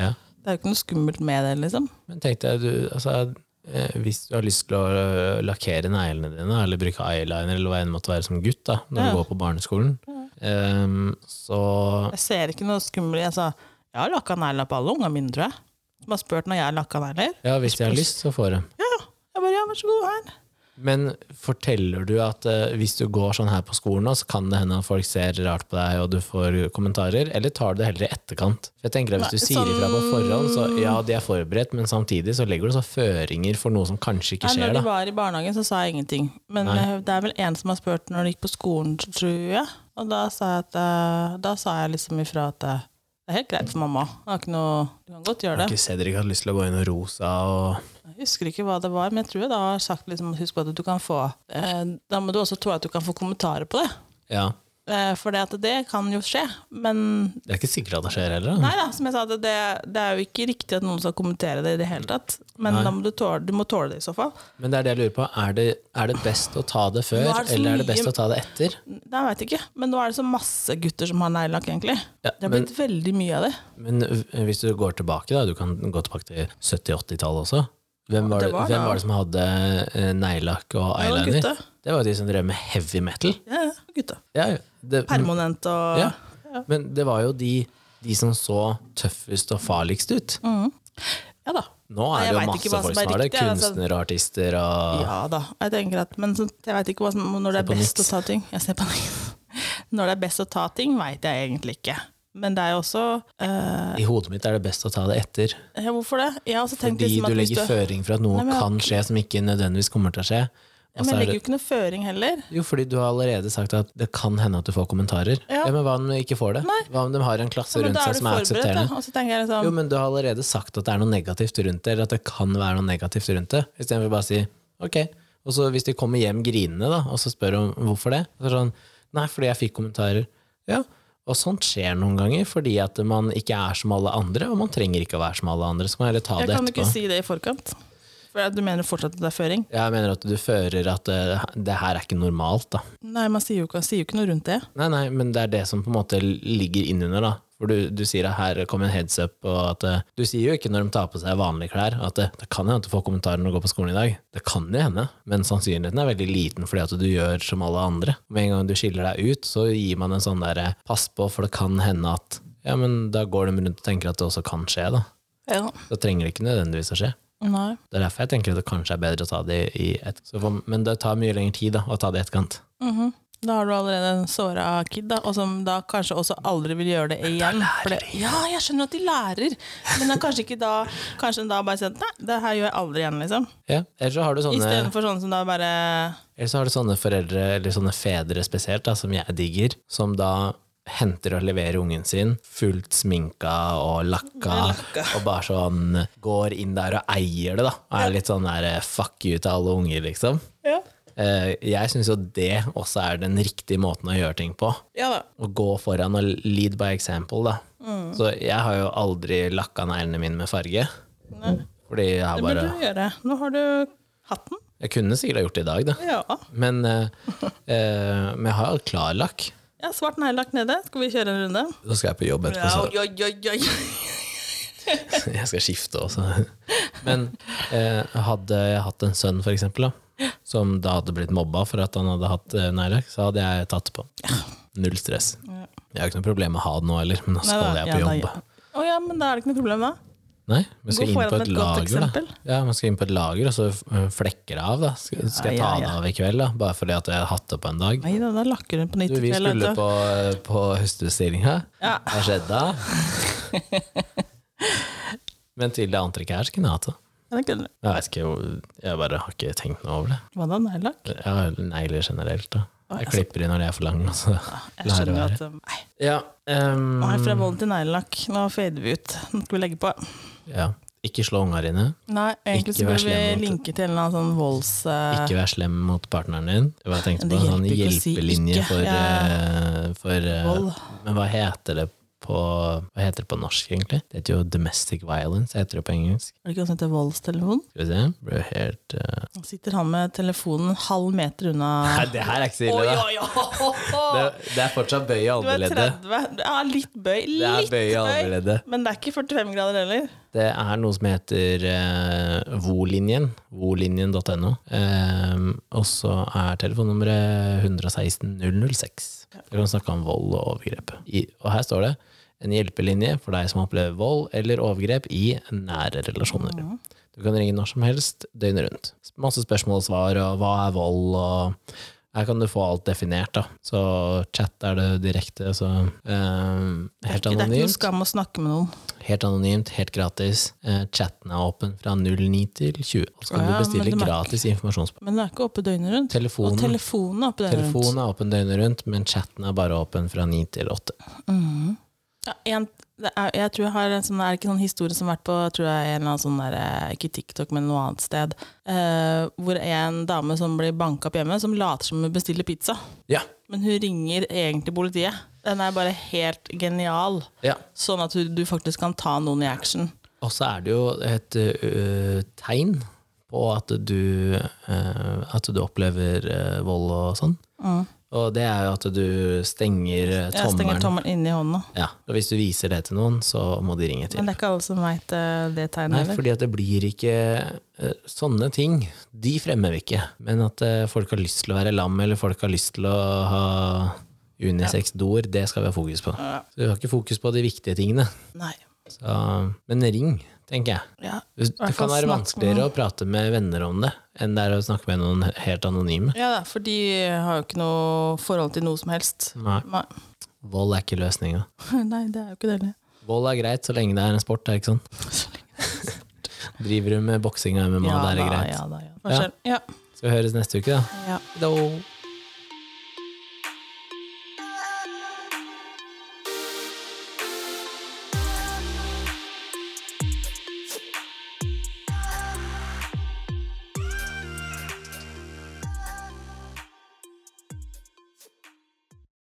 [SPEAKER 1] Ja.
[SPEAKER 2] Det er jo ikke noe skummelt med det, liksom.
[SPEAKER 1] Men tenk deg, du, altså, eh, hvis du har lyst til å eh, lakkere neglene dine, eller bruke eyeliner, eller hva enn det måtte være som gutt, da, når
[SPEAKER 2] Ja.
[SPEAKER 1] du går på barneskolen, ehm, så
[SPEAKER 2] Jeg ser ikke noe skummelt altså, Jeg har lakka negler på alle ungene mine, tror jeg. De har spurt når jeg har lakka negler.
[SPEAKER 1] ja, hvis de har lyst, så får de.
[SPEAKER 2] Ja, ja. Jeg bare ja, vær så god, her.
[SPEAKER 1] Men forteller du at eh, hvis du går sånn her på skolen, nå, så kan det hende at folk ser rart på deg, og du får kommentarer, eller tar du det heller i etterkant? For jeg tenker at Hvis du
[SPEAKER 2] Nei,
[SPEAKER 1] sier ifra på
[SPEAKER 2] sånn-
[SPEAKER 1] forhånd, så ja, de er forberedt, men samtidig så legger du så føringer for noe som kanskje ikke
[SPEAKER 2] Nei, når
[SPEAKER 1] skjer,
[SPEAKER 2] de
[SPEAKER 1] da.
[SPEAKER 2] var i barnehagen, så sa jeg ingenting. Men
[SPEAKER 1] Nei.
[SPEAKER 2] eh, det er vel en som har spurt når de gikk på skolen, tror jeg. Og da sa jeg, at, eh, da sa jeg liksom ifra at eh, det er helt greit for mamma. Det er ikke noe, du kan godt gjøre det.
[SPEAKER 1] Ikke Cedric hadde lyst til å gå inn og rosa og
[SPEAKER 2] Jeg husker ikke hva det var, men jeg tror jeg da har sagt liksom, husk på at du kan få eh, Da må du også tåle at du kan få kommentarer på det.
[SPEAKER 1] Ja.
[SPEAKER 2] Eh, For det, at det kan jo skje. Men
[SPEAKER 1] Det er ikke sikkert at det skjer heller. da.
[SPEAKER 2] nei da, som jeg sa, det, det det er jo ikke riktig at noen skal kommentere det i det hele tatt. Men
[SPEAKER 1] Nei.
[SPEAKER 2] da må du, tåle, du må tåle det i så fall.
[SPEAKER 1] Men det er det jeg lurer på. Er det, er det best å ta det før,
[SPEAKER 2] Nå er det så
[SPEAKER 1] eller er det
[SPEAKER 2] mye-
[SPEAKER 1] best å ta det etter?
[SPEAKER 2] Nei, jeg vet ikke. Men nå er det så masse gutter som har neglelakk, egentlig.
[SPEAKER 1] Ja,
[SPEAKER 2] Det har
[SPEAKER 1] men-
[SPEAKER 2] blitt veldig mye av det.
[SPEAKER 1] Men v- hvis du går tilbake, da, du kan gå tilbake til 70-80-tallet også. Hvem var
[SPEAKER 2] det
[SPEAKER 1] det,
[SPEAKER 2] var
[SPEAKER 1] hvem
[SPEAKER 2] da-
[SPEAKER 1] var det som hadde eh, neglelakk og
[SPEAKER 2] Det var
[SPEAKER 1] eyeliner?
[SPEAKER 2] gutta.
[SPEAKER 1] Det var jo de som drev med heavy metal.
[SPEAKER 2] Ja, ja, gutta.
[SPEAKER 1] Ja, ja. det,
[SPEAKER 2] Permanent og
[SPEAKER 1] Mm. ja. Men det var jo de, de som så tøffest og farligst ut.
[SPEAKER 2] Ja da.
[SPEAKER 1] Nå
[SPEAKER 2] Mm. Nei,
[SPEAKER 1] er
[SPEAKER 2] jeg
[SPEAKER 1] det jo
[SPEAKER 2] vet ikke
[SPEAKER 1] masse
[SPEAKER 2] hva
[SPEAKER 1] folk
[SPEAKER 2] som er
[SPEAKER 1] som har det.
[SPEAKER 2] riktig, altså.
[SPEAKER 1] Kunstnere og artister og
[SPEAKER 2] Ja da. Jeg tenker at, men så, jeg veit ikke hva som, når det er
[SPEAKER 1] Ah. på
[SPEAKER 2] best
[SPEAKER 1] nytt.
[SPEAKER 2] å ta ting. Jeg ser på nytt. Når det er best å ta ting, veit jeg egentlig ikke. Men det er jo også eh,
[SPEAKER 1] I hodet mitt er det best å ta det etter.
[SPEAKER 2] ja, Hvorfor det? Jeg har også tenkt
[SPEAKER 1] Fordi
[SPEAKER 2] liksom
[SPEAKER 1] du
[SPEAKER 2] at hvis
[SPEAKER 1] legger føring for at noe
[SPEAKER 2] Nei, men jeg-
[SPEAKER 1] kan skje som ikke nødvendigvis kommer til å skje.
[SPEAKER 2] Ja,
[SPEAKER 1] Og
[SPEAKER 2] men
[SPEAKER 1] så altså,
[SPEAKER 2] jeg
[SPEAKER 1] er
[SPEAKER 2] legger
[SPEAKER 1] det,
[SPEAKER 2] jo ikke noe føring heller.
[SPEAKER 1] jo, fordi du har allerede sagt at det kan hende at du får kommentarer.
[SPEAKER 2] Ja.
[SPEAKER 1] Ja, Men hva om de ikke får det? Hva om de har en klasse
[SPEAKER 2] Ja, men
[SPEAKER 1] rundt
[SPEAKER 2] da
[SPEAKER 1] seg
[SPEAKER 2] er du
[SPEAKER 1] som er
[SPEAKER 2] forberedt, da.
[SPEAKER 1] aksepterende?
[SPEAKER 2] Og så tenker jeg liksom
[SPEAKER 1] Jo, men du har allerede sagt at det er noe negativt rundt det, eller at det kan være noe negativt rundt det, istedenfor bare å si ok. Og så hvis de kommer hjem grinende, da, og så spør om hvorfor det, så er det sånn nei, fordi jeg fikk kommentarer. Ja, og sånt skjer noen ganger, fordi at man ikke er som alle andre, og man trenger ikke å være som alle andre, så kan man heller ta
[SPEAKER 2] Jeg
[SPEAKER 1] det
[SPEAKER 2] kan jo
[SPEAKER 1] etterpå.
[SPEAKER 2] ikke si det i forkant. For at du mener fortsatt at det er føring?
[SPEAKER 1] Jeg mener at du fører at det, det her er ikke normalt, da.
[SPEAKER 2] Nei, man sier jo ikke, sier jo ikke noe rundt det.
[SPEAKER 1] Nei, nei, men det er det som på en måte ligger innunder, da. For du, du sier at her kom en heads up, og at eh, Du sier jo ikke når de tar på seg vanlige klær, at eh, det, det kan hende at du får kommentarer når du går på skolen i dag. Det kan jo hende, men sannsynligheten er veldig liten fordi at du gjør som alle andre. Med en gang du skiller deg ut, så gir man en sånn derre pass på, for det kan hende at Ja, men da går de rundt og tenker at det også kan skje, da.
[SPEAKER 2] Ja.
[SPEAKER 1] Da trenger det ikke nødvendigvis å skje.
[SPEAKER 2] Nei.
[SPEAKER 1] Det er derfor jeg tenker at det kanskje er bedre å ta det i et... Så for, men det tar mye lengre tid da, å ta det i etterkant.
[SPEAKER 2] Mhm. Da har du allerede en såra kid, da, og som da kanskje også aldri vil gjøre det igjen. For det, ja, jeg skjønner at de lærer, men det er kanskje ikke da Kanskje en da bare sier nei, det her gjør jeg aldri igjen, liksom.
[SPEAKER 1] Ja, ellers så har du sånne...
[SPEAKER 2] Istedenfor sånne som da bare
[SPEAKER 1] Eller så har du sånne foreldre, eller sånne fedre spesielt, da, som jeg digger, som da henter og leverer ungen sin fullt sminka og lakka, og bare sånn går inn der og eier det, da. Og er litt sånn der eh, fuck you til alle unger, liksom.
[SPEAKER 2] Ja,
[SPEAKER 1] Eh, Jeg syns jo det også er den riktige måten å gjøre ting på.
[SPEAKER 2] ja da.
[SPEAKER 1] Å gå foran og lead by example, da.
[SPEAKER 2] Mm.
[SPEAKER 1] Så jeg har jo aldri lakka neglene mine med farge.
[SPEAKER 2] Nei.
[SPEAKER 1] Fordi jeg har
[SPEAKER 2] Det burde
[SPEAKER 1] bare
[SPEAKER 2] du gjøre. Nå har du hatten.
[SPEAKER 1] Jeg kunne sikkert ha gjort det i dag, da.
[SPEAKER 2] Ja.
[SPEAKER 1] Men, eh, eh, men jeg har jo klarlakk.
[SPEAKER 2] ja svart neglelakk nede. Skal vi kjøre en runde?
[SPEAKER 1] Så skal jeg på jobb etterpå,
[SPEAKER 2] Ja,
[SPEAKER 1] så
[SPEAKER 2] oi, oi, oi.
[SPEAKER 1] jeg skal skifte også. Men eh, hadde jeg hatt en sønn, for eksempel, da, som da hadde blitt mobba for at han hadde hatt eh, neglelakk, så hadde jeg tatt det på. Null stress.
[SPEAKER 2] Ja.
[SPEAKER 1] Jeg har ikke noe problem med å ha det nå heller, men nå
[SPEAKER 2] Nei
[SPEAKER 1] skal
[SPEAKER 2] da,
[SPEAKER 1] jeg på
[SPEAKER 2] ja, da,
[SPEAKER 1] jobb.
[SPEAKER 2] ja. Å ja, men da er det ikke noe problem, da.
[SPEAKER 1] Nei, vi skal
[SPEAKER 2] Gå
[SPEAKER 1] inn
[SPEAKER 2] foran
[SPEAKER 1] på
[SPEAKER 2] med
[SPEAKER 1] et
[SPEAKER 2] et godt
[SPEAKER 1] lager, da.
[SPEAKER 2] eksempel.
[SPEAKER 1] Ja, man skal inn på et lager, og så eh, flekker det av, da. Skal, skal jeg ta
[SPEAKER 2] Ja, ja,
[SPEAKER 1] det
[SPEAKER 2] ja.
[SPEAKER 1] av i kveld, da? Bare fordi at jeg har hatt det på en dag?
[SPEAKER 2] Nei da, da lakker hun på nytt
[SPEAKER 1] Du,
[SPEAKER 2] i
[SPEAKER 1] vi
[SPEAKER 2] kveld.
[SPEAKER 1] skulle
[SPEAKER 2] vet du.
[SPEAKER 1] på, eh, på høstutstillinga.
[SPEAKER 2] Ja.
[SPEAKER 1] Hva skjedde da? Men til det antrekket her skulle jeg hatt det.
[SPEAKER 2] Ja, det kunne du.
[SPEAKER 1] Jeg vet ikke, hvor- jeg bare har ikke tenkt noe over det.
[SPEAKER 2] Hva da, neglelakk?
[SPEAKER 1] Jeg har negler generelt. da.
[SPEAKER 2] Å,
[SPEAKER 1] Jeg
[SPEAKER 2] altså.
[SPEAKER 1] klipper i når jeg er for lang. og så
[SPEAKER 2] Jeg
[SPEAKER 1] lar det
[SPEAKER 2] skjønner
[SPEAKER 1] være.
[SPEAKER 2] at um, Nei,
[SPEAKER 1] Ja, ehm,
[SPEAKER 2] Nei, fra vold til neglelakk. Nå fader vi ut. Nå skal vi legge på.
[SPEAKER 1] ja. Ikke slå unga dine.
[SPEAKER 2] Nei,
[SPEAKER 1] Ikke
[SPEAKER 2] egentlig så
[SPEAKER 1] vær
[SPEAKER 2] burde vi
[SPEAKER 1] slem mot-
[SPEAKER 2] linke til en eller annen sånn volds... eh,
[SPEAKER 1] Ikke vær slem mot partneren din. Jeg bare tenkte på
[SPEAKER 2] Men det
[SPEAKER 1] en sånn
[SPEAKER 2] hjelper ikke å si
[SPEAKER 1] hjelpelinje
[SPEAKER 2] ikke.
[SPEAKER 1] for,
[SPEAKER 2] Ja.
[SPEAKER 1] eh, for eh,
[SPEAKER 2] Vold.
[SPEAKER 1] Men hva heter det på, hva heter det på norsk, egentlig? Det heter jo domestic violence, heter det på engelsk.
[SPEAKER 2] Er det ikke noe som heter voldstelefon?
[SPEAKER 1] Skal vi se. Ble helt eh,
[SPEAKER 2] Nå Sitter han med telefonen en halv meter unna
[SPEAKER 1] Nei, det her er ikke så
[SPEAKER 2] Oi,
[SPEAKER 1] ille, da.
[SPEAKER 2] oi, oi!
[SPEAKER 1] Det, det er fortsatt bøy i
[SPEAKER 2] Du er
[SPEAKER 1] alderleddet.
[SPEAKER 2] 30. Ja, litt bøy.
[SPEAKER 1] Det er
[SPEAKER 2] Litt
[SPEAKER 1] bøy i
[SPEAKER 2] bøy.
[SPEAKER 1] alderleddet.
[SPEAKER 2] Men det er ikke 45 grader heller.
[SPEAKER 1] Det er noe som heter eh, Volinjen, volinjen.no. Ehm, og så er telefonnummeret 116 006. Du kan snakke om vold og overgrep. I, og her står det en hjelpelinje for deg som opplever vold eller overgrep i nære relasjoner. Du kan ringe når som helst, døgnet rundt. Masse spørsmål og svar, og hva er vold, og her kan du få alt definert. da. Så chat er det direkte, så ehm,
[SPEAKER 2] Det er
[SPEAKER 1] helt
[SPEAKER 2] ikke, det er ikke noe
[SPEAKER 1] anonymt.
[SPEAKER 2] skam å snakke med noen.
[SPEAKER 1] Helt anonymt, helt gratis. Eh, chatten er åpen fra 09 til 20. Og så kan
[SPEAKER 2] Ja,
[SPEAKER 1] du
[SPEAKER 2] men
[SPEAKER 1] bestille
[SPEAKER 2] du merker-
[SPEAKER 1] gratis informasjonspakke.
[SPEAKER 2] Men det er ikke oppe døgnet rundt. Og
[SPEAKER 1] Telefonen,
[SPEAKER 2] telefonen er oppe døgnet rundt.
[SPEAKER 1] telefonen er åpen døgnet rundt, men chatten er bare åpen fra 9 til 8.
[SPEAKER 2] Ja, en, det er, jeg tror jeg har en sånn, er det ikke sånn historie som har vært på tror jeg, en eller annen sånn der, eh, ikke TikTok, men noe annet sted, eh, hvor en dame som blir banka opp hjemme, som later som hun bestiller pizza,
[SPEAKER 1] Ja.
[SPEAKER 2] men hun ringer egentlig politiet. Den er bare helt genial,
[SPEAKER 1] ja.
[SPEAKER 2] sånn at du, du faktisk kan ta noen i action.
[SPEAKER 1] Og så er det jo et ø, tegn på at du, ø, at du opplever ø, vold og sånn. Og det er jo at du stenger ø,
[SPEAKER 2] Jeg
[SPEAKER 1] tommelen.
[SPEAKER 2] stenger tommelen inni hånda.
[SPEAKER 1] ja. Og hvis du viser det til noen, så må de ringe til.
[SPEAKER 2] Men det er ikke alle som veit det tegnet
[SPEAKER 1] Nei,
[SPEAKER 2] heller.
[SPEAKER 1] fordi at det blir ikke eh, Sånne ting, de fremmer vi ikke. Men at eh, folk har lyst til å være lam, eller folk har lyst til å ha unisex-doer, det skal vi ha fokus på.
[SPEAKER 2] Ja.
[SPEAKER 1] Så vi har ikke fokus på de viktige tingene.
[SPEAKER 2] Nei.
[SPEAKER 1] Så, men ring, tenker jeg.
[SPEAKER 2] Ja.
[SPEAKER 1] Det det
[SPEAKER 2] fall
[SPEAKER 1] kan være
[SPEAKER 2] snakk med
[SPEAKER 1] vanskeligere å prate med venner om det, enn det er å snakke med noen helt anonyme.
[SPEAKER 2] ja da, for de har jo ikke noe forhold til noe som helst.
[SPEAKER 1] Nei,
[SPEAKER 2] Nei,
[SPEAKER 1] vold er ikke løsninga.
[SPEAKER 2] Nei det er jo ikke det heller.
[SPEAKER 1] Vold er greit så lenge det er en sport, er det ikke sånn? Driver du med boksing og MMA, da er det
[SPEAKER 2] da,
[SPEAKER 1] greit.
[SPEAKER 2] Ja da, ja. Forskjell. Ja.
[SPEAKER 1] Så vi høres neste uke, da.
[SPEAKER 2] ja.
[SPEAKER 1] Hello.